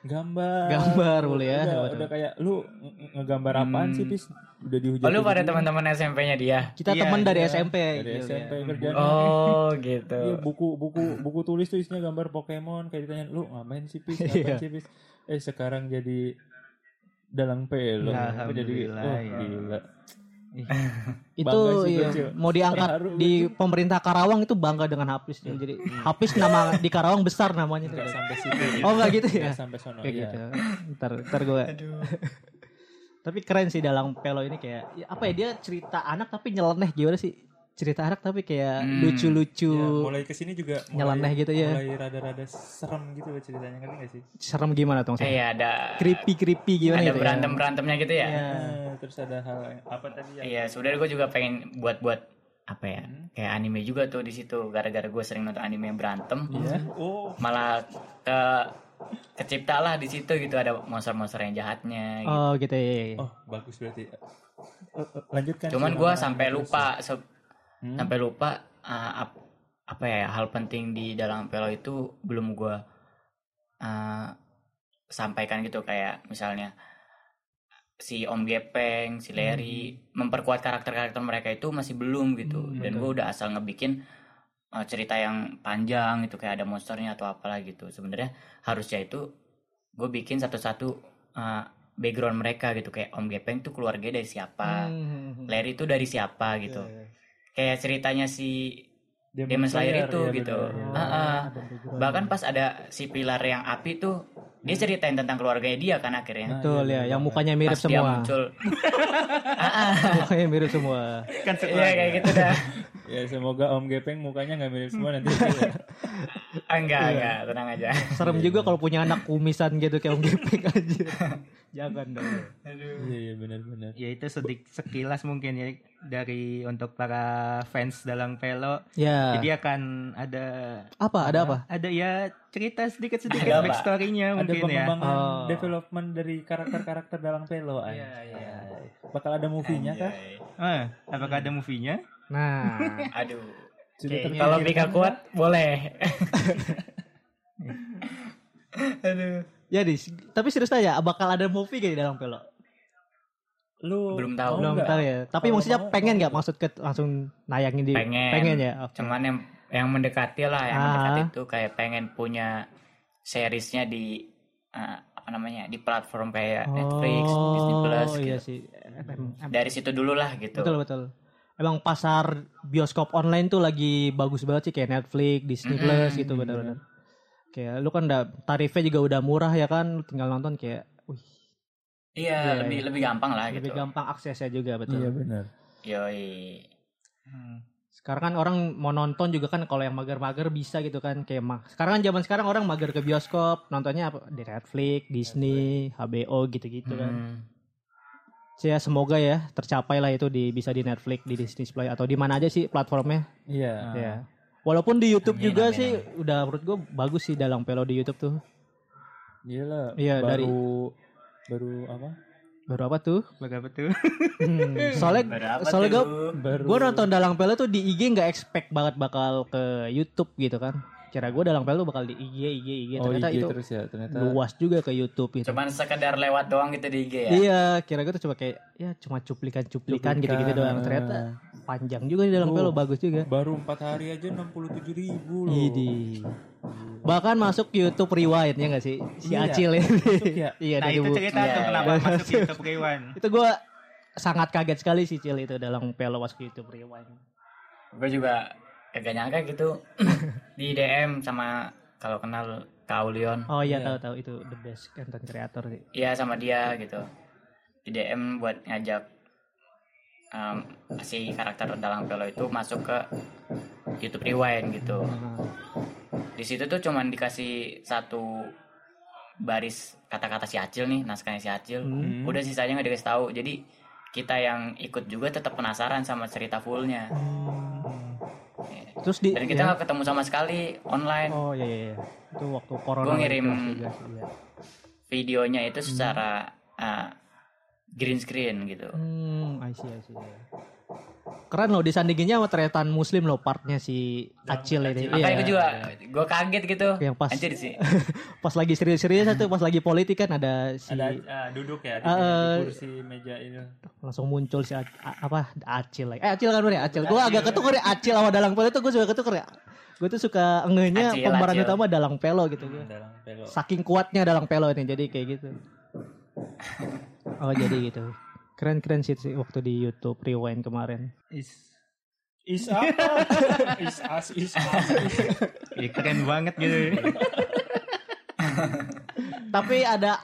Speaker 4: gambar.
Speaker 2: Gambar boleh ya,
Speaker 4: Udah,
Speaker 2: gambar.
Speaker 4: udah kayak lu nge- nge- ngegambar apaan sih, Pis? Udah dihujat.
Speaker 1: oh, lu pada teman-teman SMP-nya dia
Speaker 2: Kita
Speaker 3: Iya,
Speaker 2: teman dari
Speaker 4: iya.
Speaker 2: SMP.
Speaker 4: dari
Speaker 2: Cil,
Speaker 4: SMP
Speaker 2: ya.
Speaker 4: kerjaan.
Speaker 1: oh
Speaker 4: Iya,
Speaker 1: gitu
Speaker 4: buku buku buku tulis tuh isinya gambar Pokemon kayak ditanya lu ngapain sih pis ngapain sih pis eh sekarang jadi dalang pelo
Speaker 3: Ya,
Speaker 4: Apa jadi
Speaker 3: alhamdulillah,
Speaker 4: oh,
Speaker 3: ya.
Speaker 4: gila
Speaker 2: Itu
Speaker 4: Bangga sih gue,
Speaker 2: iya,
Speaker 4: Cil.
Speaker 2: mau diangkat
Speaker 4: Terharu
Speaker 2: di pemerintah Karawang itu bangga dengan Hafiz.
Speaker 4: Hmm.
Speaker 2: Cil. Jadi Hafiz nama di Karawang besar namanya tuh.
Speaker 4: nggak sampai situ gitu.
Speaker 2: Oh enggak gitu ya.
Speaker 4: Nggak sampai sono
Speaker 2: Kayak
Speaker 4: iya.
Speaker 2: gitu. Ntar ntar gue. tapi keren sih dalang pelo ini kayak ya apa ya dia cerita anak tapi nyeleneh gimana sih? Cerita anak tapi kayak
Speaker 1: Hmm.
Speaker 2: lucu-lucu,
Speaker 4: Iya,
Speaker 5: Ya, mulai kesini juga mulai,
Speaker 2: nyeleneh gitu ya.
Speaker 5: mulai rada-rada serem gitu loh ceritanya ngerti gak sih?
Speaker 2: Serem gimana tuh?
Speaker 1: eh ya ada
Speaker 2: Creepy creepy gimana
Speaker 1: ada
Speaker 2: gitu ya?
Speaker 1: berantem berantemnya gitu ya
Speaker 2: Iya.
Speaker 5: Eh, terus ada hal yang- apa tadi ya?
Speaker 1: Iya, sebenarnya gue juga pengen buat-buat apa ya,
Speaker 2: Hmm.
Speaker 1: kayak anime juga tuh di situ. Gara-gara gue sering nonton anime yang berantem,
Speaker 2: Iya.
Speaker 4: Iya.
Speaker 5: Oh,
Speaker 1: malah ke kecipta lah di situ gitu ada monster-monster yang jahatnya. Gitu.
Speaker 2: Oh gitu ya. ya.
Speaker 5: oh bagus berarti.
Speaker 4: Eh, eh,
Speaker 2: iya
Speaker 4: lanjutkan Hmm?
Speaker 1: Cuman
Speaker 4: Cil,
Speaker 1: gue
Speaker 4: sama-
Speaker 1: sampai lupa, se-
Speaker 5: Hmm.
Speaker 1: sampai lupa uh, ap- apa ya hal penting di dalam pelo itu belum gue uh, sampaikan gitu kayak misalnya si Om Gepeng, si Larry memperkuat karakter-karakter mereka itu masih belum gitu. Dan gue udah asal ngebikin uh, cerita yang panjang gitu kayak ada monsternya atau apalah gitu. Sebenarnya harusnya itu gue bikin satu-satu uh, background mereka gitu kayak Om Gepeng tuh keluarga dari siapa,
Speaker 2: Hmm.
Speaker 1: Larry itu dari siapa gitu. Kayak ceritanya si Demon Slayer
Speaker 5: iya,
Speaker 1: itu
Speaker 4: iya,
Speaker 1: gitu. Ah,
Speaker 4: Nah,
Speaker 1: ah. Bahkan pas ada si pilar yang api tuh dia ceritain tentang keluarganya dia kan
Speaker 4: iya,
Speaker 1: akhirnya.
Speaker 2: Betul ya, yang mukanya mirip
Speaker 1: pas dia
Speaker 2: semua.
Speaker 1: muncul.
Speaker 2: Mukanya mirip semua.
Speaker 3: kan
Speaker 1: Iya
Speaker 3: sekeluarga.
Speaker 1: kayak gitu dah.
Speaker 4: ya semoga Om Gepeng mukanya nggak mirip semua nanti Iya,
Speaker 1: Ah, enggak, enggak, tenang aja.
Speaker 2: Serem juga kalau punya anak kumisan gitu kayak Om Gepeng aja. Jangan dong.
Speaker 4: iya iya benar-benar
Speaker 3: ya itu sedik, sekilas mungkin ya dari untuk para fans dalang pelo
Speaker 2: Ya.
Speaker 3: jadi akan ada
Speaker 2: apa? Ada apa?
Speaker 3: ada ya cerita sedikit
Speaker 1: Ada
Speaker 3: sedikit
Speaker 1: apa?
Speaker 3: backstory-nya
Speaker 4: ada
Speaker 3: mungkin ya
Speaker 4: pengembangan
Speaker 2: Oh.
Speaker 4: development dari karakter-karakter dalang pelo an
Speaker 5: iya.
Speaker 4: bakal ada movie-nya kah
Speaker 1: Anjay.
Speaker 3: Eh,
Speaker 2: Oh, iya.
Speaker 3: apakah ada movie-nya
Speaker 2: Nah,
Speaker 1: Aduh.
Speaker 4: Sudah
Speaker 1: Kayaknya Iya,
Speaker 5: gitu
Speaker 1: kalau Mika
Speaker 5: kan?
Speaker 1: kuat boleh. Aduh.
Speaker 2: ya Dis, tapi serius aja, bakal ada movie gak di dalam pelo?
Speaker 4: lu
Speaker 1: Belum
Speaker 4: mau
Speaker 1: tahu.
Speaker 2: Belum
Speaker 4: nggak?
Speaker 2: tahu ya. Tapi
Speaker 4: Kalau
Speaker 2: maksudnya
Speaker 4: mau,
Speaker 2: pengen nggak maksud ke langsung nayangin di?
Speaker 1: Pengen.
Speaker 2: ya.
Speaker 1: Cuman yang yang mendekati lah, yang
Speaker 2: Ah.
Speaker 1: mendekati itu kayak pengen punya seriesnya di eh, apa namanya? di platform kayak Netflix, Disney Plus gitu.
Speaker 2: iya sih. Em- em-
Speaker 1: Dari situ dulu lah gitu.
Speaker 2: Betul betul. Emang pasar bioskop online tuh lagi bagus banget sih kayak Netflix, Disney
Speaker 1: Mm-mm.
Speaker 2: Plus gitu benar-benar. Kayak lu kan udah tarifnya juga udah murah ya kan, lu tinggal nonton kayak wih,
Speaker 1: Iya,
Speaker 2: Iya,
Speaker 1: lebih
Speaker 2: iya.
Speaker 1: lebih gampang lah gitu.
Speaker 2: lebih gampang aksesnya juga betul.
Speaker 4: iya benar
Speaker 1: Yoi.
Speaker 2: Sekarang kan orang mau nonton juga kan kalau yang mager-mager bisa gitu kan kayak mah. Sekarang kan zaman sekarang orang mager ke bioskop, nontonnya apa? Di Netflix, Disney, HBO gitu-gitu kan.
Speaker 1: Hmm.
Speaker 2: Ya semoga ya tercapai lah itu di bisa di Netflix, di Disney Plus atau di mana aja sih platformnya.
Speaker 4: iya
Speaker 2: Ya. Walaupun di
Speaker 1: Ah.
Speaker 2: YouTube
Speaker 1: Amin,
Speaker 2: juga
Speaker 1: amin,
Speaker 2: sih udah menurut gue bagus sih dalang pelo di YouTube tuh.
Speaker 4: Iya lah.
Speaker 2: Iya,
Speaker 4: baru,
Speaker 2: dari-
Speaker 4: baru apa?
Speaker 2: Baru apa tuh?
Speaker 3: Baga betul.
Speaker 2: Hmm, soalnya
Speaker 1: Berapa
Speaker 2: soalnya
Speaker 1: tuh?
Speaker 2: gua-
Speaker 4: Baru.
Speaker 2: gue nonton Dalang Pele tuh di IG nggak expect banget bakal ke YouTube gitu kan. Cara gue Dalang Pele tuh bakal di IG IG IG
Speaker 4: oh,
Speaker 2: iya, ternyata
Speaker 4: IG
Speaker 2: itu
Speaker 4: terus ya ternyata.
Speaker 2: luas juga ke YouTube gitu.
Speaker 1: Cuman sekedar lewat doang gitu di IG ya.
Speaker 2: Iya, kira gue tuh cuma kayak ya cuma cuplikan-cuplikan gitu-gitu doang. Ternyata panjang juga di Dalang Pele
Speaker 1: Oh.
Speaker 2: bagus juga.
Speaker 5: Baru empat hari aja 67 ribu
Speaker 2: Iya,
Speaker 5: loh.
Speaker 2: Gitu. Idi. Bahkan masuk YouTube Rewind ya gak sih? Si
Speaker 5: Iya,
Speaker 2: Acil ya.
Speaker 5: ya.
Speaker 2: iya,
Speaker 3: Nah
Speaker 2: dari
Speaker 3: itu
Speaker 2: Bu-
Speaker 3: cerita
Speaker 1: Iya,
Speaker 3: tuh
Speaker 1: iya.
Speaker 3: kenapa masuk YouTube Rewind.
Speaker 2: Itu gue sangat kaget sekali sih Cil itu dalam Pelo masuk YouTube Rewind.
Speaker 1: Gue juga kagak nyangka gitu di DM sama kalau kenal Kaulion.
Speaker 2: Oh iya tahu-tahu itu the best content creator sih.
Speaker 1: Iya sama dia gitu. Di DM buat ngajak em, si karakter dalang pelo itu masuk ke YouTube Rewind gitu. Di situ tuh cuman dikasih satu baris kata-kata si Acil nih, naskahnya si Acil.
Speaker 5: Hmm.
Speaker 1: Udah sisanya nggak dikasih tahu. Jadi kita yang ikut juga tetap penasaran sama cerita fullnya. Iya.
Speaker 2: Terus di
Speaker 1: Dan kita
Speaker 2: ya.
Speaker 1: nggak ketemu sama sekali online.
Speaker 2: Oh iya iya iya. Itu waktu corona.
Speaker 1: Gua ngirim-
Speaker 2: Las Vegas, iya.
Speaker 1: Videonya itu secara eh, green screen gitu.
Speaker 2: Hmm, I see, I see. Keren loh disandinginnya sama teretan muslim loh partnya si Acil ini.
Speaker 1: Makanya
Speaker 2: Iya.
Speaker 1: gue juga, gue kaget gitu.
Speaker 2: Yang pas-
Speaker 1: Anjir sih.
Speaker 2: Pas lagi serius-seriusnya tuh, pas lagi politik kan ada si
Speaker 5: Ada ah, duduk ya di,
Speaker 2: Eh, eh.
Speaker 5: di kursi meja ini.
Speaker 2: langsung muncul si A- A- apa Acil lagi. Eh Acil kan bener ya Acil. Gue agak ketuker ya Acil sama Dalang Pelo itu gue suka ketuker ya. Gue tuh suka ngehnya
Speaker 1: Acil,
Speaker 2: pemeran
Speaker 1: Acil.
Speaker 2: utama Dalang Pelo gitu. gua.
Speaker 5: Dalam belok.
Speaker 2: Saking kuatnya Dalang Pelo ini jadi kayak gitu. Oh jadi gitu. Keren-keren sih sih waktu di YouTube Rewind kemarin.
Speaker 3: Is.
Speaker 5: Is apa? Iya, is as is as.
Speaker 3: Ih, keren banget gitu.
Speaker 2: Tapi ada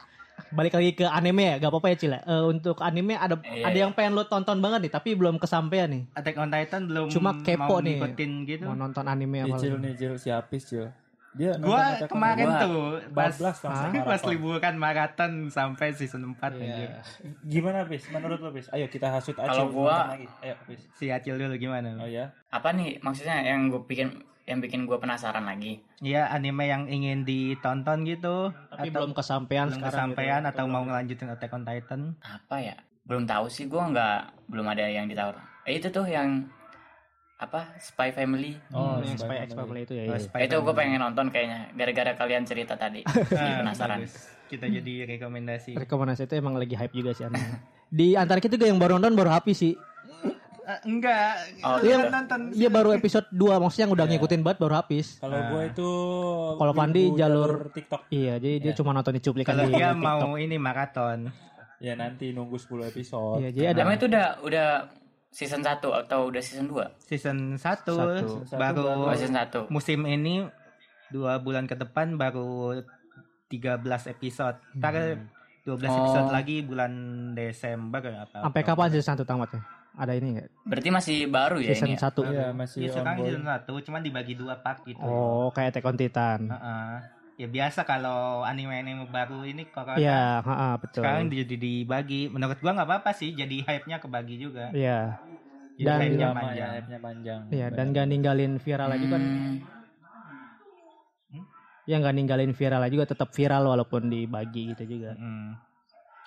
Speaker 2: balik lagi ke anime ya, gak apa-apa ya Cil. ya. Eh, untuk anime ada
Speaker 1: Iya,
Speaker 2: ada
Speaker 1: iya.
Speaker 2: yang pengen lo tonton banget nih, tapi belum kesampaian nih.
Speaker 3: Attack on Titan belum
Speaker 2: Cuma kepo
Speaker 3: mau
Speaker 2: nih.
Speaker 3: ngikutin gitu.
Speaker 2: Mau nonton anime apa?
Speaker 5: Iya,
Speaker 4: Ih, Cil nih Cil si Apis Cil. Dia nonton
Speaker 3: Gua
Speaker 4: Attack on
Speaker 3: kemarin
Speaker 1: Titan.
Speaker 3: tuh pas
Speaker 4: 14 langsung
Speaker 3: ah,
Speaker 4: maraton.
Speaker 3: pas liburan maraton sampai season 4
Speaker 4: Titan.
Speaker 3: anjir.
Speaker 4: Iya.
Speaker 5: Gimana bis? Menurut lo bis? Ayo kita hasut aja.
Speaker 1: Kalau gua-
Speaker 5: lagi. Ayo bis.
Speaker 3: Si Acil dulu gimana?
Speaker 2: iya.
Speaker 5: Oh ya.
Speaker 1: Apa nih maksudnya yang gue bikin yang bikin gue penasaran lagi?
Speaker 3: Iya anime yang ingin ditonton gitu
Speaker 2: Tapi
Speaker 3: atau
Speaker 2: belum kesampaian
Speaker 3: belum
Speaker 2: sekarang. gitu.
Speaker 3: kesampaian atau mau ngelanjutin Attack on Titan?
Speaker 1: Apa ya? Belum tahu sih gue nggak belum ada yang ditawar. Eh itu tuh yang apa Spy Family.
Speaker 4: Oh,
Speaker 2: Oh, yang Spy
Speaker 4: Spy
Speaker 2: X Family itu ya.
Speaker 3: Oh,
Speaker 2: iya.
Speaker 3: Spy
Speaker 1: itu gue
Speaker 3: Family.
Speaker 1: pengen nonton kayaknya gara-gara kalian cerita tadi. Jadi
Speaker 3: Ah,
Speaker 1: penasaran.
Speaker 3: bagus. Kita jadi rekomendasi.
Speaker 2: Rekomendasi itu emang lagi hype juga sih anime. Di antara kita juga yang baru nonton baru happy sih.
Speaker 3: Ah, enggak,
Speaker 1: Oh,
Speaker 3: lu
Speaker 1: iya.
Speaker 3: yang nonton.
Speaker 2: Iya baru episode 2 maksudnya yang udah ngikutin banget baru habis.
Speaker 5: Kalau gua itu
Speaker 2: Kalau Fandi
Speaker 5: wibu
Speaker 2: jalur-
Speaker 5: TikTok.
Speaker 2: Iya, jadi dia cuma nonton di cuplikan kan
Speaker 3: Kalau
Speaker 2: di
Speaker 3: dia
Speaker 2: TikTok.
Speaker 3: mau ini maraton.
Speaker 5: Ya nanti nunggu 10 episode.
Speaker 2: Iya, jadi ada
Speaker 1: Emang itu udah udah season 1 atau udah season 2?
Speaker 3: Season 1
Speaker 2: Satu.
Speaker 1: Oh,
Speaker 3: baru
Speaker 1: season 1.
Speaker 3: musim ini dua bulan ke depan baru 13 episode. Ntar
Speaker 2: Hmm.
Speaker 3: 12 episode
Speaker 1: Oh.
Speaker 3: lagi bulan Desember ya, apa.
Speaker 2: sampai kapan season 1 tamatnya? ya? Ada ini enggak?
Speaker 1: Berarti masih baru ya
Speaker 2: Season
Speaker 1: ini? ya?
Speaker 2: 1.
Speaker 4: Iya, masih
Speaker 3: Ya sekarang
Speaker 4: ongoing.
Speaker 3: season 1 cuman dibagi dua part gitu.
Speaker 2: Oh, kayak Attack on Titan.
Speaker 3: Heeh. Ya biasa kalau anime-anime baru ini corona
Speaker 2: Iya, heeh, betul.
Speaker 3: ah, sekarang jadi dibagi. Menurut gua nggak apa-apa sih jadi hype-nya kebagi juga.
Speaker 2: Iya.
Speaker 3: Jadi
Speaker 2: Dan-
Speaker 3: hype-nya
Speaker 5: Lama ya,
Speaker 3: panjang.
Speaker 5: app-nya panjang.
Speaker 2: Iya, dan gak ninggalin viral lagi kan.
Speaker 1: Hmm,
Speaker 2: Ya gak ninggalin viral lagi juga tetap viral walaupun dibagi gitu juga.
Speaker 3: Mm.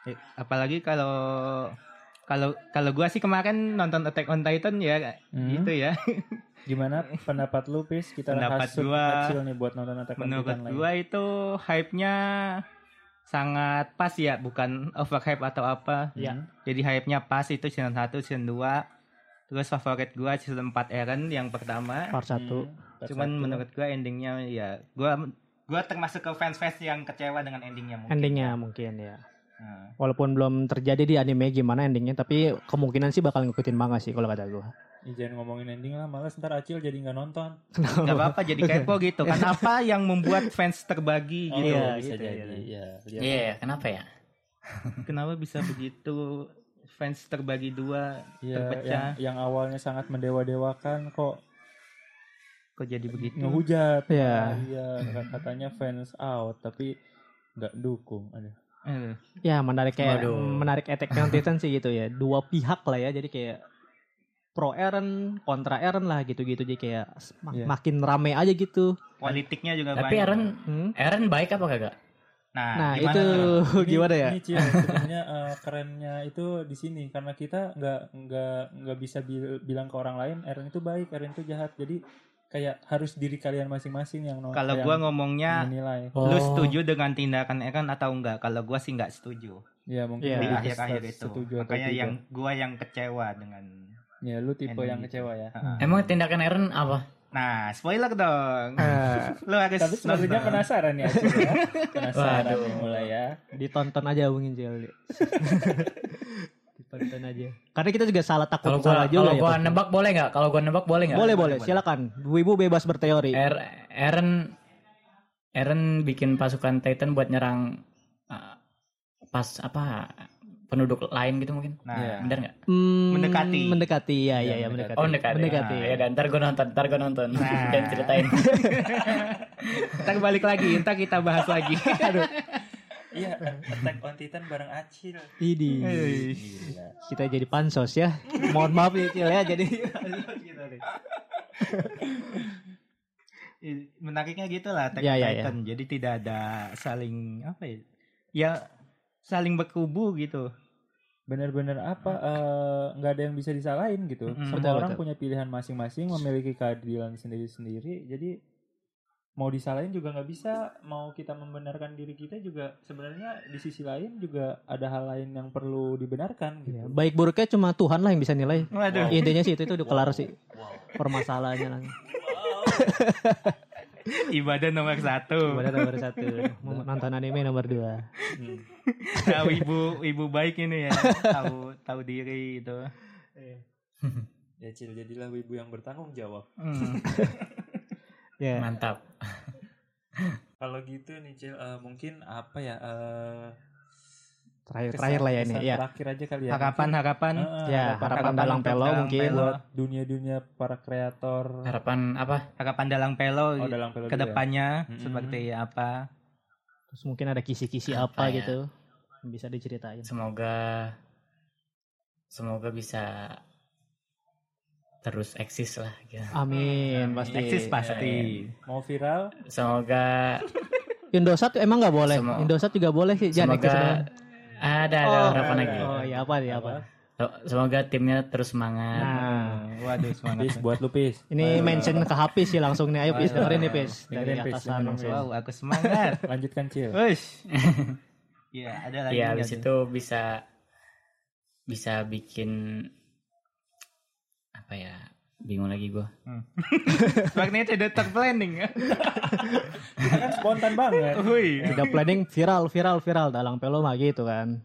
Speaker 3: Eh, Apalagi kalau kalau kalau gua sih kemarin nonton Attack on Titan ya
Speaker 4: Hmm.
Speaker 3: gitu ya.
Speaker 4: Gimana pendapat lu Pis? Kita
Speaker 3: Pendapat
Speaker 4: hasut
Speaker 3: gua-
Speaker 4: Acil nih buat nonton Attack on
Speaker 3: Menurut
Speaker 4: Titan lagi.
Speaker 3: gua itu hype-nya sangat pas ya, bukan overhype atau
Speaker 4: Hmm.
Speaker 3: apa.
Speaker 2: Iya.
Speaker 3: Jadi hype-nya pas itu season 1, season 2. Terus favorit gua season 4 Eren yang pertama.
Speaker 2: Part 1.
Speaker 5: Hmm.
Speaker 4: Hmm.
Speaker 3: Cuman menurut gua endingnya ya gua gua termasuk ke fans-fans yang kecewa dengan endingnya mungkin.
Speaker 2: Endingnya mungkin ya.
Speaker 3: Nah.
Speaker 2: Walaupun belum terjadi di anime gimana endingnya, tapi kemungkinan sih bakal ngikutin manga sih kalau kata gua.
Speaker 5: Ih, jangan ngomongin ending lah, malas ntar Acil jadi nggak nonton.
Speaker 3: Gak Nah, apa-apa jadi kepo gitu kan apa yang membuat fans terbagi gitu
Speaker 5: iya, bisa
Speaker 3: Gitu,
Speaker 5: jadi.
Speaker 3: gitu.
Speaker 5: Iya,
Speaker 1: Iya,
Speaker 5: lihat.
Speaker 1: iya, kenapa ya?
Speaker 3: kenapa bisa begitu fans terbagi dua
Speaker 4: Iya,
Speaker 3: terpecah
Speaker 4: yang, yang awalnya sangat mendewa-dewakan kok
Speaker 3: kok jadi begitu
Speaker 4: ngehujat.
Speaker 2: Hmm. Iya.
Speaker 4: Iya, katanya fans out tapi nggak dukung. Aduh.
Speaker 3: Eh,
Speaker 2: Ya menarik kayak
Speaker 1: Waduh.
Speaker 2: menarik Attack on Titan sih gitu ya. Dua pihak lah ya. Jadi kayak pro Eren, kontra Eren lah gitu-gitu. Jadi kayak mak-
Speaker 4: Iya.
Speaker 2: makin rame aja gitu.
Speaker 3: politiknya juga
Speaker 1: Tapi
Speaker 3: banyak
Speaker 1: Aaron
Speaker 2: Hmm?
Speaker 1: Aaron baik apa kagak?
Speaker 3: Nah,
Speaker 2: Nah,
Speaker 3: gimana
Speaker 2: itu
Speaker 3: tuh?
Speaker 5: Ini-
Speaker 2: gimana ya?
Speaker 5: Ini Cil, sebenarnya eh, kerennya itu di sini karena kita nggak nggak nggak bisa bil- bilang ke orang lain Eren itu baik, Eren itu jahat. Jadi kayak harus diri kalian masing-masing yang nol-
Speaker 3: Kalau
Speaker 5: yang
Speaker 3: gua ngomongnya
Speaker 5: menilai.
Speaker 3: lu setuju dengan tindakan Eren atau enggak? Kalau gua sih enggak setuju.
Speaker 5: Ya mungkin
Speaker 2: Iya,
Speaker 3: Di
Speaker 5: lebih ke
Speaker 3: akhir-akhir
Speaker 5: se-
Speaker 3: itu.
Speaker 5: setuju atau
Speaker 3: gitu. Makanya
Speaker 5: tidak.
Speaker 3: yang gua yang kecewa dengan
Speaker 5: ya lu tipe
Speaker 3: ending
Speaker 5: yang
Speaker 3: itu.
Speaker 5: kecewa ya.
Speaker 3: Ha-ha.
Speaker 1: Emang tindakan Eren apa?
Speaker 3: Nah, spoiler dong.
Speaker 2: Ah. Eh,
Speaker 3: lu harus
Speaker 5: Tapi sebenarnya
Speaker 3: nonton.
Speaker 5: penasaran ya, Cil, ya. Penasaran
Speaker 1: Waduh.
Speaker 5: nih mulai ya.
Speaker 2: Ditonton aja mungkin Cil. Ditonton aja. Karena kita juga salah takut
Speaker 1: Kalau
Speaker 2: salah
Speaker 1: gua
Speaker 2: juga
Speaker 1: kalau
Speaker 2: ya.
Speaker 1: gua
Speaker 2: Pak.
Speaker 1: nebak boleh nggak? Kalau gua nebak boleh nggak?
Speaker 2: boleh, boleh,
Speaker 3: boleh, boleh.
Speaker 2: silakan. Bu Ibu bebas berteori.
Speaker 1: Er- Eren Eren bikin pasukan Titan buat nyerang uh, pas apa penduduk lain gitu mungkin.
Speaker 3: Nah,
Speaker 5: Iya.
Speaker 1: Bener nggak?
Speaker 2: Hmm,
Speaker 3: Mendekati.
Speaker 2: Mendekati, ya, ya,
Speaker 5: Ya,
Speaker 2: ya, mendekati.
Speaker 1: Oh mendekati.
Speaker 2: Mendekati.
Speaker 1: Nah, ya dan ntar gua nonton, ntar gua nonton
Speaker 3: Nah.
Speaker 1: dan ceritain.
Speaker 3: kita balik lagi, entar kita bahas lagi. Aduh.
Speaker 5: Iya, Attack on Titan bareng Acil.
Speaker 2: Idi.
Speaker 5: Gila.
Speaker 2: Kita jadi pansos ya. Mohon maaf ya, Cil ya. Jadi
Speaker 3: gitu Iya, Menariknya gitu lah Attack
Speaker 2: Ya,
Speaker 3: on
Speaker 2: ya,
Speaker 3: Titan. Jadi tidak ada saling apa ya? Ya saling berkubu gitu.
Speaker 5: bener-bener apa eh, nggak ada yang bisa disalahin gitu
Speaker 3: Mm-mm.
Speaker 5: semua
Speaker 2: Betul,
Speaker 5: orang
Speaker 2: betul.
Speaker 5: punya pilihan masing-masing memiliki keadilan sendiri-sendiri jadi mau disalahin juga nggak bisa mau kita membenarkan diri kita juga sebenarnya di sisi lain juga ada hal lain yang perlu dibenarkan gitu
Speaker 2: Ya, baik buruknya cuma Tuhan lah yang bisa nilai.
Speaker 3: Waduh.
Speaker 2: Intinya sih itu itu udah kelar sih permasalahannya lang.
Speaker 3: Ibadah nomor satu.
Speaker 2: Ibadah nomor satu, nonton anime nomor dua.
Speaker 5: Hmm.
Speaker 3: Tahu ibu ibu baik ini ya. Tahu tahu diri gitu.
Speaker 5: ya cil jadilah wibu yang bertanggung jawab
Speaker 3: Hmm.
Speaker 2: Ya.
Speaker 1: Mantap.
Speaker 5: kalau gitu nih cil eh, mungkin apa ya eh,
Speaker 2: Terakhir
Speaker 5: kesan-
Speaker 2: terakhir lah ya ini.
Speaker 5: kesan
Speaker 2: Ya.
Speaker 5: terakhir aja kali ya
Speaker 3: Harapan harapan.
Speaker 5: Mungkin, eh,
Speaker 2: Ya,
Speaker 5: harapan
Speaker 2: harapan dalang pelo
Speaker 3: Dalang
Speaker 2: mungkin.
Speaker 3: Pelo.
Speaker 5: buat dunia-dunia para kreator
Speaker 1: Harapan apa?
Speaker 3: Harapan dalang pelo gitu,
Speaker 5: oh, dalang pelo dulu ya.
Speaker 3: kedepannya
Speaker 5: Mm-mm.
Speaker 3: seperti apa?
Speaker 2: Terus mungkin ada kisi-kisi
Speaker 1: Apa
Speaker 2: apa
Speaker 1: ya?
Speaker 2: gitu yang bisa diceritain.
Speaker 1: Semoga semoga bisa terus eksis lah gitu.
Speaker 2: Amin, pasti.
Speaker 3: Eksis pasti.
Speaker 5: mau viral
Speaker 1: Semoga
Speaker 2: Indosat emang nggak boleh.
Speaker 1: Semoga-
Speaker 2: Indosat juga boleh sih. Jangan eksis doang.
Speaker 1: semoga ada ada harapan
Speaker 5: ada,
Speaker 1: lagi.
Speaker 2: Oh, ya apa ya apa.
Speaker 1: Semoga timnya terus semangat.
Speaker 2: Nah,
Speaker 5: Pis
Speaker 3: Waduh semangat.
Speaker 5: buat lu Pis.
Speaker 2: ini mention ke HP sih langsung nih. Ayo Pis dengerin nih Pis dari
Speaker 5: Dengerin, Pis,
Speaker 2: atasan
Speaker 5: dengerin,
Speaker 2: langsung.
Speaker 5: Pis.
Speaker 3: Wow, aku semangat.
Speaker 5: Lanjutkan Cil.
Speaker 3: Ush. Iya, ada lagi.
Speaker 1: Iya,
Speaker 3: nggak
Speaker 1: habis
Speaker 3: tuh?
Speaker 1: itu bisa bisa bikin apa ya? Bingung lagi gua.
Speaker 3: Maknanya tidak terplanning ya.
Speaker 5: kan spontan banget.
Speaker 3: Hui.
Speaker 2: Tidak planning viral viral viral dalang pelo mah gitu kan.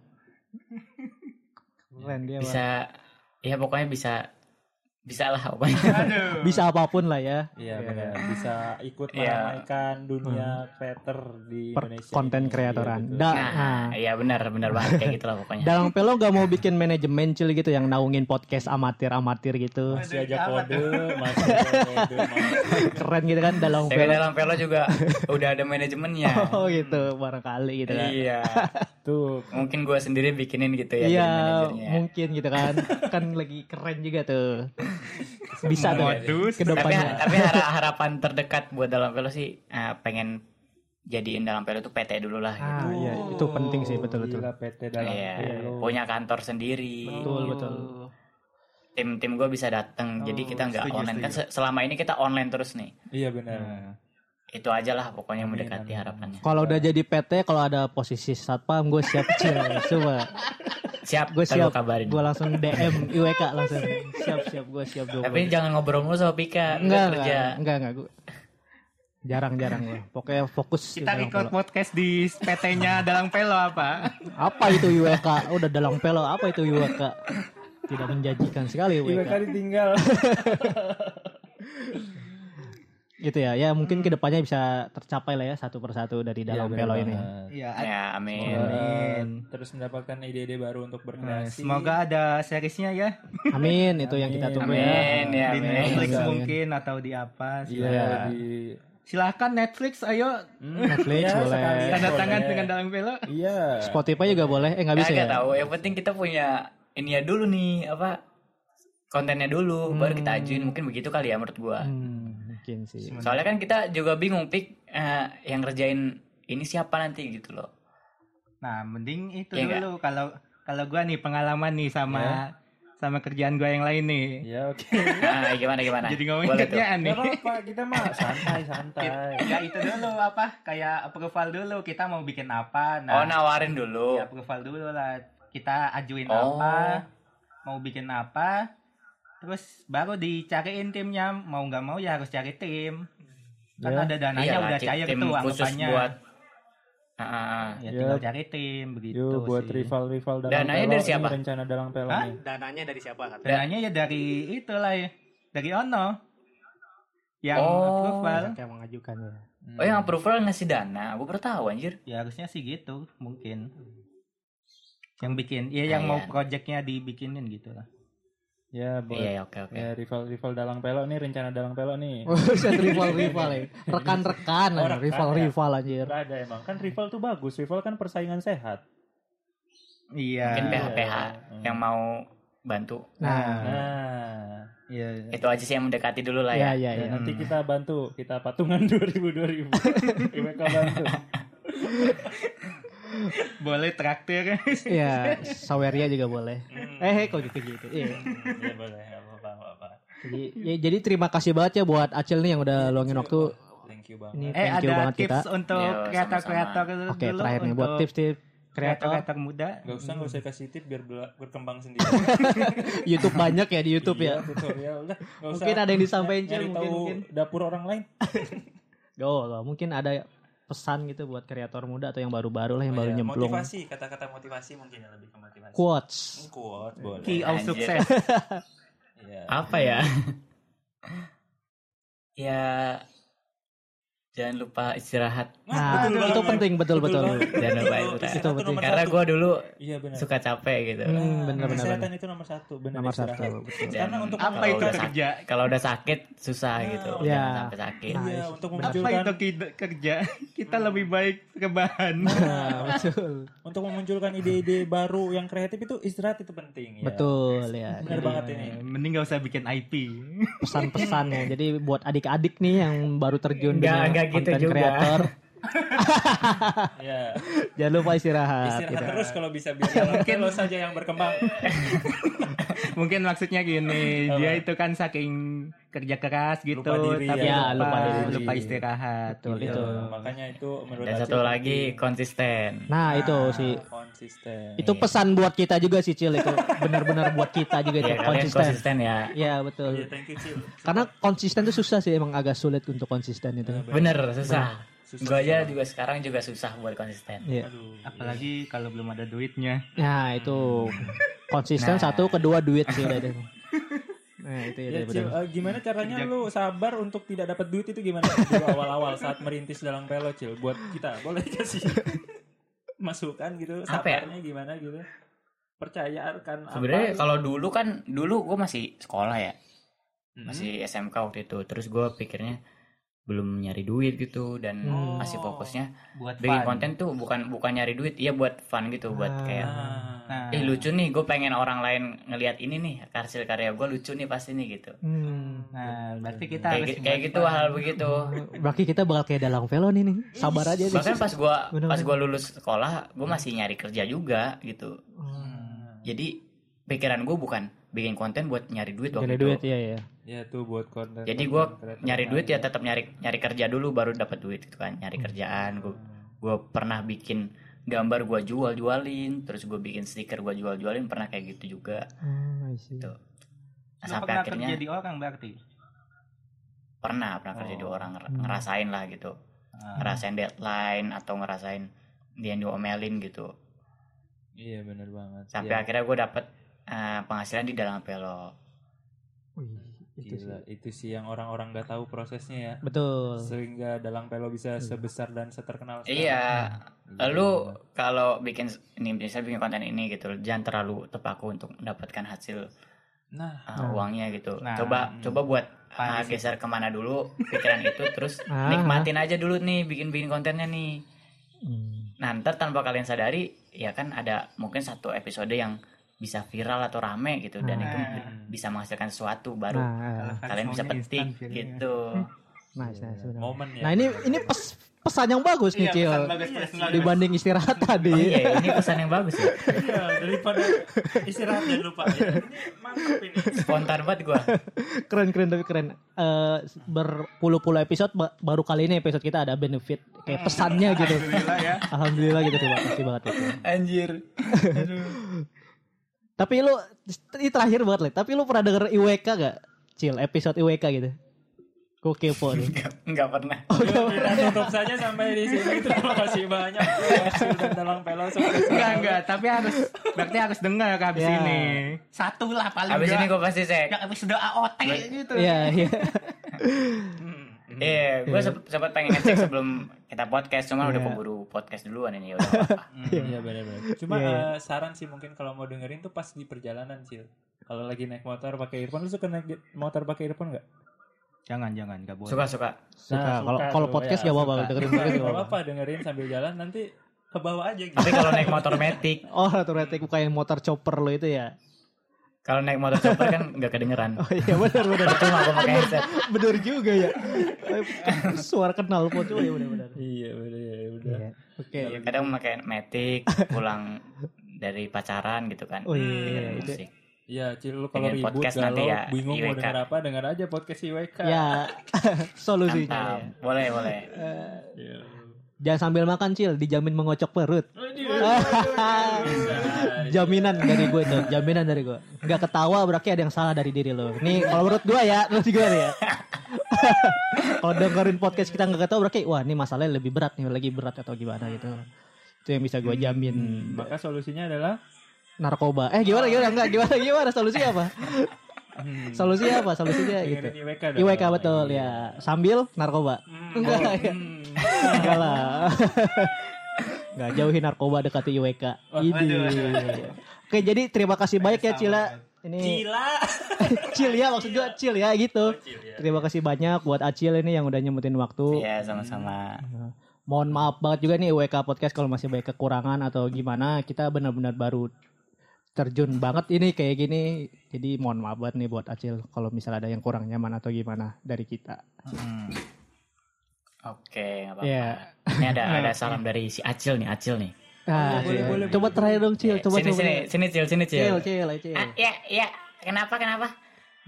Speaker 2: Keren dia. Iya, Bang.
Speaker 1: Bisa ya pokoknya bisa bisa lah pokoknya.
Speaker 3: Aduh.
Speaker 2: bisa apapun lah ya
Speaker 5: Iya benar. Bisa ikut
Speaker 3: Iya.
Speaker 5: meramaikan dunia creator di
Speaker 2: per
Speaker 5: Indonesia.
Speaker 2: konten
Speaker 5: ini. Iya,
Speaker 2: kreatoran
Speaker 5: betul.
Speaker 2: da nah.
Speaker 1: Nah, iya benar benar banget kayak gitu lah pokoknya.
Speaker 2: dalang pelo gak mau bikin manajemen cil gitu yang naungin podcast amatir amatir gitu
Speaker 5: Masih aja kode, masih aja kode. masih.
Speaker 2: keren gitu kan dalang
Speaker 1: Tapi
Speaker 2: pelo
Speaker 1: dalam Velo juga udah ada manajemennya.
Speaker 2: oh gitu barangkali gitu kan
Speaker 1: Iya.
Speaker 5: Tuh,
Speaker 1: Mungkin gua sendiri bikinin gitu ya jadi
Speaker 2: Iya,
Speaker 1: manajernya.
Speaker 2: mungkin gitu kan. kan lagi keren juga tuh. Bisa tuh
Speaker 3: Modus.
Speaker 2: ke
Speaker 1: tapi
Speaker 2: depannya.
Speaker 1: tapi har- harapan terdekat buat dalam pelo sih eh, pengen jadiin dalam pelo itu PT dulu lah gitu.
Speaker 2: Ah, iya, itu penting sih betul betul.
Speaker 5: gila PT dalam ya. Oh.
Speaker 1: Iya,
Speaker 5: pelo.
Speaker 1: punya kantor sendiri
Speaker 2: Betul, betul.
Speaker 1: tim tim gue bisa datang jadi kita nggak
Speaker 3: setuju,
Speaker 1: online kan se- selama ini kita online terus nih
Speaker 5: Iya benar.
Speaker 1: itu aja lah pokoknya mendekati harapannya
Speaker 2: Kalau udah jadi PT, kalau ada posisi satpam, gue siap cil. Coba,
Speaker 1: siap
Speaker 2: gue
Speaker 1: ntar gua
Speaker 2: siap.
Speaker 1: kabarin
Speaker 2: Gue langsung DM IWK langsung. Siap siap, gue siap dong.
Speaker 1: tapi jangan ngobrol mulu sama Pika Lu
Speaker 2: enggak
Speaker 1: kerja
Speaker 2: enggak enggak enggak gue jarang-jarang gue pokoknya fokus gitu
Speaker 3: Kita
Speaker 2: dalang
Speaker 3: record
Speaker 2: pelo.
Speaker 3: podcast di PT-nya Dalang Pelo apa?
Speaker 2: apa itu IWK udah dalang pelo apa itu IWK tidak menjanjikan sekali
Speaker 5: Iya
Speaker 2: IWK
Speaker 5: kali tinggal.
Speaker 2: gitu ya ya mungkin kedepannya bisa tercapai lah ya satu persatu dari dalang
Speaker 5: Iya, benar
Speaker 2: pelo ini
Speaker 5: banget.
Speaker 3: Iya.
Speaker 1: ya amin
Speaker 5: Eh, Terus mendapatkan ide-ide baru untuk berkreasi.
Speaker 3: Semoga ada seriesnya ya
Speaker 2: amin itu yang kita tunggu ya
Speaker 1: amin ya
Speaker 3: di
Speaker 1: amin
Speaker 3: Netflix
Speaker 2: Amin.
Speaker 3: mungkin atau di apa?
Speaker 5: Iya,
Speaker 3: Silahkan,
Speaker 5: di
Speaker 3: silahkan Netflix, ayo
Speaker 2: Netflix
Speaker 5: Iya,
Speaker 2: boleh.
Speaker 5: sekalian
Speaker 3: tanda tangan
Speaker 5: boleh.
Speaker 3: dengan Dalang Pelo.
Speaker 5: Iya.
Speaker 2: Spotify juga boleh eh nggak bisa
Speaker 1: Kagak
Speaker 2: ya
Speaker 1: tahu yang penting kita punya ininya dulu nih apa kontennya dulu baru kita ajuin mungkin begitu kali ya menurut gua
Speaker 2: Hmm, mungkin sih
Speaker 1: soalnya kan kita juga bingung pik eh, yang ngerjain ini siapa nanti gitu loh
Speaker 3: Nah, mending itu
Speaker 1: Iya nggak?
Speaker 3: dulu kalau kalau gua nih pengalaman nih sama
Speaker 5: Iya.
Speaker 3: sama kerjaan gua yang lain nih.
Speaker 5: Ya oke.
Speaker 1: nah, gimana gimana
Speaker 3: Jadi ngomongin
Speaker 1: Boleh tuh.
Speaker 3: kerjaan
Speaker 5: Gak
Speaker 3: nih.
Speaker 5: apa-apa kita mah santai santai.
Speaker 3: Enggak Iya, itu dulu apa kayak approval dulu kita mau bikin apa. Nah,
Speaker 1: oh nawarin dulu
Speaker 3: ya, approval dulu lah. Kita ajuin
Speaker 1: Oh.
Speaker 3: apa, mau bikin apa. Terus baru dicariin timnya, mau nggak mau ya harus cari tim. Kan
Speaker 4: Ya.
Speaker 3: ada dananya
Speaker 1: Iya lah,
Speaker 3: udah
Speaker 1: tim-
Speaker 3: cair
Speaker 1: tim
Speaker 3: tuh
Speaker 1: khusus
Speaker 3: anggapannya.
Speaker 1: buat Ah, ah, ah.
Speaker 3: Ya
Speaker 4: Ya.
Speaker 3: tinggal cari tim begitu
Speaker 5: Gitu
Speaker 4: Yo buat
Speaker 3: sih.
Speaker 4: rival-rival dalam
Speaker 1: Dananya
Speaker 4: pelo
Speaker 1: dari
Speaker 4: ini
Speaker 1: siapa?
Speaker 4: rencana dalam pelo
Speaker 3: Hah?
Speaker 4: nih.
Speaker 6: dananya dari siapa kan?
Speaker 3: Dananya ya dari itulah ya. Dari Ono. Yang
Speaker 1: Oh.
Speaker 3: approval.
Speaker 6: Kayak mengajukan ya.
Speaker 1: oh
Speaker 5: Hmm.
Speaker 4: Hmm.
Speaker 1: yang approval ngasih dana gue baru tahu anjir
Speaker 3: Ya harusnya sih gitu mungkin. Yang bikin, ya
Speaker 1: Nah,
Speaker 3: yang mau
Speaker 1: iya.
Speaker 3: projectnya dibikinin gitu lah.
Speaker 4: Ya buat
Speaker 1: iya iya, oke oke
Speaker 4: ya rival-rival dalam pelo nih rencana dalam pelo nih.
Speaker 1: Oh.
Speaker 2: Buset, Oh, rival-rival ya. Rekan-rekan,
Speaker 5: Oh, rekan, ya.
Speaker 2: rival-rival anjir.
Speaker 4: Nggak ada emang kan rival tuh bagus rival kan persaingan sehat
Speaker 3: Iya.
Speaker 1: mungkin ya. PH PH
Speaker 4: Hmm.
Speaker 1: yang mau bantu
Speaker 2: Nah,
Speaker 4: nah
Speaker 3: Iya.
Speaker 1: itu aja sih yang mendekati dulu lah ya
Speaker 2: ya ya
Speaker 4: ya
Speaker 2: ya.
Speaker 4: nanti kita bantu kita patungan 2000 2000 IWK bantu
Speaker 3: Boleh traktir.
Speaker 2: Iya, Saweria juga boleh.
Speaker 5: Hmm.
Speaker 4: Hmm.
Speaker 2: Eh, eh, kok gitu-gitu. Iya.
Speaker 5: Ya boleh nggak apa-apa nggak apa-apa.
Speaker 2: Jadi, ya, jadi terima kasih banget ya buat Acil nih yang udah luangin waktu.
Speaker 5: Thank you banget.
Speaker 2: Ini
Speaker 3: eh
Speaker 2: thank you
Speaker 3: ada
Speaker 2: banget kita.
Speaker 3: tips untuk
Speaker 1: Yo,
Speaker 3: kreator-kreator dulu.
Speaker 2: Oke, terakhir nih buat
Speaker 3: untuk
Speaker 2: tips-tips kreator
Speaker 3: Kreator-kreator muda.
Speaker 5: Gak usah gak usah kasih tip biar bela- berkembang sendiri.
Speaker 2: YouTube banyak ya di YouTube ya.
Speaker 5: Iya, tutorial udah. Gak usah
Speaker 2: Mungkin ada yang disampaikan Cil,
Speaker 5: nyari
Speaker 2: mungkin
Speaker 5: tahu
Speaker 2: mungkin.
Speaker 5: dapur orang lain.
Speaker 2: Oh, loh, mungkin ada pesan gitu buat kreator muda atau yang baru-baru lah yang
Speaker 5: Oh,
Speaker 2: baru
Speaker 5: iya,
Speaker 2: nyemplung.
Speaker 5: Motivasi kata-kata motivasi mungkin ya lebih ke motivasi. Hmm,
Speaker 2: Quotes.
Speaker 5: Kuat boleh.
Speaker 3: Key of
Speaker 1: Anjir.
Speaker 3: success.
Speaker 5: Iya.
Speaker 1: apa ya ya jangan lupa istirahat
Speaker 2: Nah, itu
Speaker 5: betul banget.
Speaker 2: penting betul-betul.
Speaker 5: banget.
Speaker 1: jangan lupa
Speaker 5: Itu-
Speaker 1: istirahat
Speaker 5: itu nomor
Speaker 1: karena
Speaker 5: satu.
Speaker 1: gue dulu
Speaker 5: Iya benar.
Speaker 1: suka capek gitu
Speaker 2: Hmm,
Speaker 5: Nah,
Speaker 2: benar, benar,
Speaker 5: Kesehatan itu nomor satu. Benar.
Speaker 2: Nomor
Speaker 5: istirahat.
Speaker 2: satu, betul.
Speaker 1: Dan
Speaker 5: Karena untuk
Speaker 3: Apa
Speaker 1: kalau
Speaker 3: itu
Speaker 1: udah sakit,
Speaker 3: kerja?
Speaker 1: kalau udah sakit susah gitu
Speaker 5: Nah,
Speaker 1: jangan
Speaker 2: ya.
Speaker 1: sampai sakit
Speaker 2: Nah,
Speaker 5: Iya,
Speaker 2: itu
Speaker 5: untuk
Speaker 2: benar.
Speaker 3: Apa itu
Speaker 5: memunculkan
Speaker 3: ki- kerja? Kita lebih baik rebahan.
Speaker 2: Nah, betul.
Speaker 5: untuk memunculkan ide-ide baru yang kreatif itu istirahat itu penting ya.
Speaker 2: Betul ya.
Speaker 5: Benar
Speaker 2: Jadi,
Speaker 5: banget
Speaker 1: Iya.
Speaker 5: ini.
Speaker 3: Mending gak usah bikin IP.
Speaker 2: pesan-pesannya. ya. Jadi buat adik-adik nih yang baru terjun
Speaker 1: Nggak,
Speaker 2: dunia
Speaker 1: nggak gitu
Speaker 2: content
Speaker 1: juga.
Speaker 2: creator,
Speaker 5: Iya.
Speaker 2: jangan lupa istirahat.
Speaker 5: Istirahat
Speaker 2: gitu.
Speaker 5: terus kalau bisa biar mungkin lo saja yang berkembang.
Speaker 3: Mungkin maksudnya gini, dia itu kan saking kerja keras gitu,
Speaker 5: Lupa diri
Speaker 3: tapi
Speaker 5: ya.
Speaker 3: lupa, lupa,
Speaker 5: Lupa diri.
Speaker 3: istirahat. Gitu.
Speaker 2: Betul,
Speaker 5: Iya,
Speaker 2: itu.
Speaker 5: Makanya itu menurut
Speaker 1: dan
Speaker 5: Acil
Speaker 1: satu lagi
Speaker 5: penting.
Speaker 1: konsisten
Speaker 2: Nah, itu
Speaker 5: Nah,
Speaker 2: sih.
Speaker 5: konsisten.
Speaker 2: Itu pesan buat kita juga sih Cil itu. Benar-benar buat kita juga itu
Speaker 1: ya kalian
Speaker 2: konsisten.
Speaker 1: konsisten ya
Speaker 2: Iya,
Speaker 5: Iya,
Speaker 2: betul.
Speaker 5: thank you Cil.
Speaker 2: Karena konsisten itu susah sih, emang agak sulit untuk konsisten itu.
Speaker 1: bener ya. susah
Speaker 5: Susah.
Speaker 1: gue aja juga sekarang juga susah buat konsisten
Speaker 2: Iya.
Speaker 5: Aduh.
Speaker 3: Apalagi kalau belum ada duitnya.
Speaker 2: Nah, itu
Speaker 1: Nah.
Speaker 2: konsisten satu, kedua duit sih udah deh. Nah, itu ya,
Speaker 5: Ya,
Speaker 2: daripada-
Speaker 5: Cil, eh, gimana caranya
Speaker 3: Sejak-
Speaker 5: lu sabar untuk tidak dapat duit itu gimana dulu awal-awal saat merintis dalam pelo Cil buat kita boleh kasih masukan gitu
Speaker 1: Apa ya?
Speaker 5: sabarnya gimana gitu percaya akan
Speaker 1: sebenarnya
Speaker 5: apa
Speaker 1: kalau dulu kan dulu gue masih sekolah ya
Speaker 5: Hmm.
Speaker 1: masih SMK waktu itu terus gue pikirnya belum nyari duit gitu dan
Speaker 2: Hmm.
Speaker 1: masih fokusnya
Speaker 3: Buat
Speaker 1: bikin
Speaker 3: fun.
Speaker 1: konten tuh bukan bukan nyari duit iya buat fun gitu buat kayak
Speaker 5: Nah,
Speaker 3: Nah,
Speaker 1: eh lucu nih gue pengen orang lain ngelihat ini nih hasil karya gue lucu nih pasti nih gitu
Speaker 2: Hmm.
Speaker 3: nah, berarti kita
Speaker 1: kayak
Speaker 3: harus
Speaker 1: gi- kayak
Speaker 3: buat
Speaker 1: gitu
Speaker 3: fun.
Speaker 1: hal begitu
Speaker 2: Berarti kita bakal kayak dalang velo nih nih. Sabar aja nih.
Speaker 1: bahkan pas gue
Speaker 2: Bener-bener.
Speaker 1: pas gue lulus sekolah gue masih nyari kerja juga gitu
Speaker 5: Hmm.
Speaker 1: jadi pikiran gue bukan bikin konten buat nyari duit waktu
Speaker 2: Jadi
Speaker 1: itu
Speaker 2: duit ya ya.
Speaker 5: ya tuh buat konten
Speaker 1: jadi gue nyari duit ya tetap nyari nyari kerja dulu baru dapat duit gitu kan nyari kerjaan gue gue pernah bikin gambar gue jual jualin terus gue bikin stiker gue jual jualin pernah kayak gitu juga
Speaker 2: Oh, I see.
Speaker 1: Betul. Nah,
Speaker 3: Lu
Speaker 1: sampai
Speaker 3: pernah
Speaker 1: akhirnya
Speaker 3: kerja di orang berarti.
Speaker 1: pernah pernah kerja di orang nger- ngerasain lah gitu
Speaker 3: Ah.
Speaker 1: ngerasain deadline atau ngerasain dia yang diomelin gitu
Speaker 5: iya bener banget Iya.
Speaker 1: sampai akhirnya gue dapet eh, penghasilan di dalam pelo
Speaker 2: Wih, itu
Speaker 5: itu,
Speaker 2: sih.
Speaker 5: Gila, itu sih yang orang-orang nggak tahu prosesnya ya
Speaker 2: Betul.
Speaker 5: sehingga dalang pelo bisa sebesar dan seterkenal sekarang.
Speaker 1: iya
Speaker 5: Iya,
Speaker 1: lu kalau bikin ini misalnya bikin konten ini gitu jangan terlalu terpaku untuk mendapatkan hasil
Speaker 5: nah
Speaker 1: uh, uangnya gitu.
Speaker 3: Nah,
Speaker 1: coba
Speaker 5: mm.
Speaker 1: coba buat uh,
Speaker 3: Paham sih.
Speaker 1: geser kemana dulu pikiran itu terus
Speaker 2: Ah.
Speaker 1: nikmatin aja dulu nih bikin-bikin kontennya nih.
Speaker 2: Hmm.
Speaker 1: Nah, ntar tanpa kalian sadari ya kan ada mungkin satu episode yang bisa viral atau rame gitu dan
Speaker 2: Nah.
Speaker 1: itu bi- bisa menghasilkan sesuatu baru
Speaker 2: Nah,
Speaker 3: Kalau
Speaker 1: kalian bisa
Speaker 3: maunya
Speaker 1: petik
Speaker 3: instan feelingnya.
Speaker 1: gitu.
Speaker 2: nice, nice. benar.
Speaker 5: Iya. momen ya
Speaker 2: Nah, ini ini pes- pesan yang bagus nih Cil
Speaker 3: Iya, pesan bagus, pesan bagus.
Speaker 2: dibanding istirahat tadi
Speaker 1: Oh iya, ini pesan yang bagus ya.
Speaker 5: Iya, daripada istirahat dan lupa. Ya, ini mantap ini.
Speaker 1: Spontan banget gua.
Speaker 2: keren keren tapi keren Eh, berpuluh-puluh episode ba- baru kali ini episode kita ada benefit kayak pesannya gitu
Speaker 3: Alhamdulillah ya.
Speaker 2: alhamdulillah gitu terima kasih banget Cil.
Speaker 1: Anjir.
Speaker 2: tapi lu ini terakhir banget Le. tapi lu pernah denger IWK gak Cil episode IWK gitu Gue kepo nih.
Speaker 1: Nggak- nggak pernah.
Speaker 5: Yuk, kita tutup saja sampai di sini. Terima kasih banyak. Hasil dan dalang pelo.
Speaker 3: Enggak enggak, tapi harus berarti harus dengar ke habis
Speaker 2: Ya.
Speaker 3: ini. Satu lah paling
Speaker 1: Abis
Speaker 3: enggak.
Speaker 1: ini gua pasti cek.
Speaker 3: yang episode AOT gitu.
Speaker 2: Iya, iya.
Speaker 1: Iya, gua sep- sempat pengen ngecek sebelum kita podcast, cuman
Speaker 2: Iya.
Speaker 1: udah keburu podcast duluan ini udah apa.
Speaker 5: Iya benar-benar. Cuma
Speaker 2: Iya, iya.
Speaker 5: eh, saran sih mungkin kalau mau dengerin tuh pas di perjalanan Cil. Kalau lagi naik motor pakai earphone lu suka naik motor pakai earphone nggak?
Speaker 3: Jangan jangan enggak boleh.
Speaker 1: Suka suka.
Speaker 2: Suka. Nah, Kalau
Speaker 5: suka
Speaker 2: kalau
Speaker 5: tuh,
Speaker 2: podcast
Speaker 5: ya,
Speaker 2: gak apa-apa
Speaker 5: suka.
Speaker 2: dengerin
Speaker 5: Nggak
Speaker 2: dengerin gak apa-apa.
Speaker 5: apa-apa dengerin sambil jalan nanti ke bawah aja gitu.
Speaker 1: Tapi kalau naik motor metik,
Speaker 2: Oh, ratu retik bukan yang motor chopper lo itu ya.
Speaker 1: kalau naik motor chopper kan nggak kedengeran.
Speaker 2: Oh iya benar benar.
Speaker 1: Cuma gua pakai headset.
Speaker 2: benar juga ya. Suara kenal pot ya benar-benar.
Speaker 5: Iya bener ya udah.
Speaker 2: Oke.
Speaker 1: Iya, kadang memakai metik pulang dari pacaran gitu kan.
Speaker 2: Oh iya,
Speaker 1: Dengerin
Speaker 2: itu.
Speaker 1: musik.
Speaker 5: Iya Cil lu
Speaker 1: Pengen
Speaker 5: kalau ribut
Speaker 1: podcast nanti
Speaker 5: galau
Speaker 1: ya,
Speaker 5: bingung mau
Speaker 1: IWK.
Speaker 5: denger apa denger aja podcast IWK.
Speaker 2: Ya, solusinya.
Speaker 1: Mantap.
Speaker 2: ya.
Speaker 1: Boleh, boleh.
Speaker 5: Iya.
Speaker 2: Jangan sambil makan, Cil, dijamin mengocok perut.
Speaker 5: Waduh, waduh, waduh, bisa.
Speaker 2: Jaminan dari gue itu, jaminan dari gue. Nggak ketawa berarti ada yang salah dari diri lo. Nih, kalau menurut gue ya, menurut gue nih ya. kalau dengerin podcast kita nggak ketawa berarti, wah ini masalahnya lebih berat nih, lagi berat atau gimana gitu. Itu yang bisa gue jamin.
Speaker 5: Maka solusinya adalah
Speaker 2: narkoba. Eh gimana gimana enggak gimana gimana solusinya apa? solusinya apa? Solusinya gitu.
Speaker 5: dengerin IWK. dong.
Speaker 2: Hmm. IWK betul ya. Sambil narkoba. Enggak ya. Enggak lah. Enggak jauhi narkoba dekati IWK. Ini. Oke, jadi terima kasih banyak ya Cila. Ini
Speaker 5: Gila.
Speaker 2: Cil ya maksud gue Cil ya gitu. Terima kasih banyak buat Acil ini yang udah nyempetin waktu.
Speaker 1: Iya, sama-sama.
Speaker 2: Mohon maaf banget juga nih IWK podcast kalau masih banyak kekurangan atau gimana. Kita benar-benar baru terjun banget ini kayak gini. Jadi mohon maaf banget nih buat Acil kalau misalnya ada yang kurang nyaman atau gimana dari kita.
Speaker 1: Oke, nggak apa-apa.
Speaker 2: Iya.
Speaker 1: Ini ada ada salam dari si Acil nih, Acil nih.
Speaker 2: Ah,
Speaker 5: boleh,
Speaker 2: iya.
Speaker 5: boleh,
Speaker 2: coba terakhir dong Cil, coba
Speaker 1: sini,
Speaker 2: coba. Iya,
Speaker 1: sini, sini, Cil, sini, Cil.
Speaker 2: Cil, Cil, Cil.
Speaker 1: Ah, ya, ya. Kenapa, kenapa?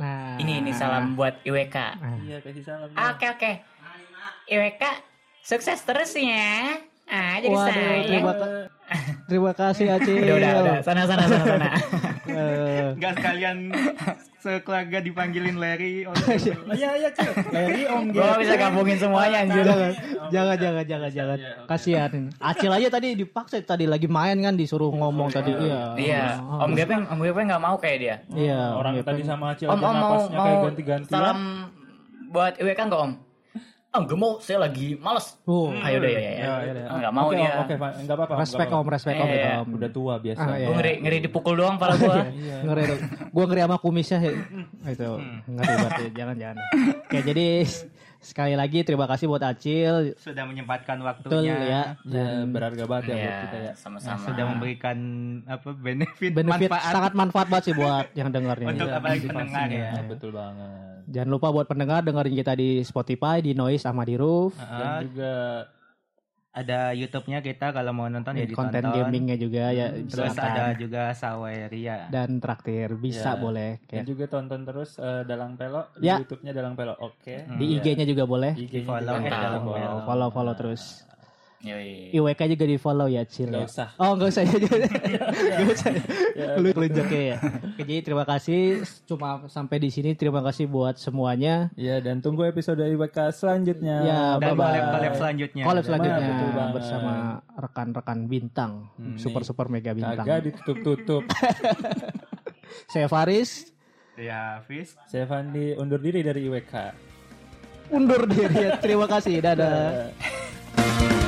Speaker 2: Nah,
Speaker 1: Ini, ini salam buat IWK.
Speaker 5: Iya kasih salam.
Speaker 1: Ah, Oke, oke. IWK, sukses terus ya. Ah, jadi
Speaker 2: Waduh,
Speaker 1: saya.
Speaker 2: terima, ka- terima kasih Acil.
Speaker 1: Udah, udah, udah. Sana, sana, sana, sana.
Speaker 2: Eh,
Speaker 3: Enggak sekalian sekeluarga dipanggilin Larry Oh, gitu. oleh
Speaker 5: Iya iya Cil.
Speaker 3: Larry Om
Speaker 1: Gua bisa gabungin semuanya, anjir.
Speaker 2: jangan, jangan, jangan, jangan, jangan. Kasihan. Acil aja tadi dipaksa tadi lagi main kan disuruh ngomong tadi. Iya.
Speaker 1: Iya, Om Gepeng, Om Gepeng nggak mau kayak dia.
Speaker 2: Iya.
Speaker 5: Orang tadi sama Acil
Speaker 1: Om, om mau,
Speaker 5: aja Iya, napasnya
Speaker 1: mau
Speaker 5: kayak ganti-ganti.
Speaker 1: salam buat IWK nggak Om? Om gak Ah, mau, saya lagi males.
Speaker 2: Oh,
Speaker 1: Ayo deh, ya,
Speaker 3: Iya,
Speaker 1: ya.
Speaker 5: Ya, ya, ya.
Speaker 1: Ah, nggak mau
Speaker 5: Oke,
Speaker 1: dia.
Speaker 5: Om, Oke, Pak. Enggak apa-apa. Om,
Speaker 2: respect
Speaker 5: nggak
Speaker 2: om,
Speaker 5: apa-apa.
Speaker 2: respect om,
Speaker 1: Iya,
Speaker 2: respect
Speaker 1: iya.
Speaker 2: om.
Speaker 5: Udah tua biasa.
Speaker 2: Ah, iya.
Speaker 1: Gue ngeri, ngeri dipukul doang pala
Speaker 5: Iya,
Speaker 1: gue.
Speaker 2: Ngeri dong. Gua ngeri sama kumisnya he. itu. Ngeri banget ya. jangan jangan. Oke, jadi sekali lagi terima kasih buat Acil.
Speaker 3: sudah menyempatkan
Speaker 2: Betul
Speaker 3: waktunya. Nah,
Speaker 2: ya.
Speaker 5: Ya, berharga banget ya buat
Speaker 1: Iya,
Speaker 5: kita ya.
Speaker 1: sama-sama. Iya,
Speaker 3: Sudah memberikan apa benefit,
Speaker 2: Benefit
Speaker 3: manfaat
Speaker 2: sangat manfaat banget sih buat yang dengarnya.
Speaker 3: untuk
Speaker 2: Iya.
Speaker 3: apalagi pendengar ya.
Speaker 5: Nah, betul banget.
Speaker 2: Jangan lupa buat pendengar dengerin kita di Spotify, di Noise sama di Roof.
Speaker 5: Dan
Speaker 3: Ah,
Speaker 5: juga
Speaker 3: ada YouTube-nya kita kalau mau nonton ya
Speaker 2: Di Iya, konten
Speaker 3: ditonton.
Speaker 2: gamingnya juga ya
Speaker 3: Terus
Speaker 2: silakan.
Speaker 3: ada juga Saweria.
Speaker 2: dan traktir bisa
Speaker 5: Ya.
Speaker 2: boleh
Speaker 5: dan
Speaker 2: kayak
Speaker 5: juga tonton terus eh, Dalang Pelo di
Speaker 2: Ya.
Speaker 5: YouTube-nya Dalang Pelo. Oke.
Speaker 2: di IG-nya juga boleh.
Speaker 5: IG-nya
Speaker 3: Hmm. Follow ya,
Speaker 5: juga
Speaker 1: at
Speaker 5: kita
Speaker 1: Dalang
Speaker 5: follow.
Speaker 3: Pelo.
Speaker 2: Follow follow terus.
Speaker 1: Yoi.
Speaker 2: IWK juga di follow ya Cil.
Speaker 5: Iya. Nggak
Speaker 2: ya?
Speaker 5: usah. Iya.
Speaker 2: Oh nggak usah ya. Nggak usah. ya. Lu kelunjaknya ya. Oke, Jadi terima kasih. Cuma sampai di sini terima kasih buat semuanya.
Speaker 5: Ya, dan tunggu episode IWK selanjutnya.
Speaker 2: Ya,
Speaker 3: Dan
Speaker 2: bye-bye.
Speaker 3: collab-collab selanjutnya.
Speaker 2: Collab selanjutnya
Speaker 5: Iya, betul banget. Hmm, iya.
Speaker 2: bersama rekan-rekan bintang, super super mega
Speaker 5: Kagak
Speaker 2: bintang.
Speaker 5: ditutup-tutup.
Speaker 2: Saya Faris
Speaker 3: Ya, Hafiz.
Speaker 5: Saya Fandi undur diri dari IWK.
Speaker 2: undur diri. ya. Terima kasih. Dadah.
Speaker 5: Eh,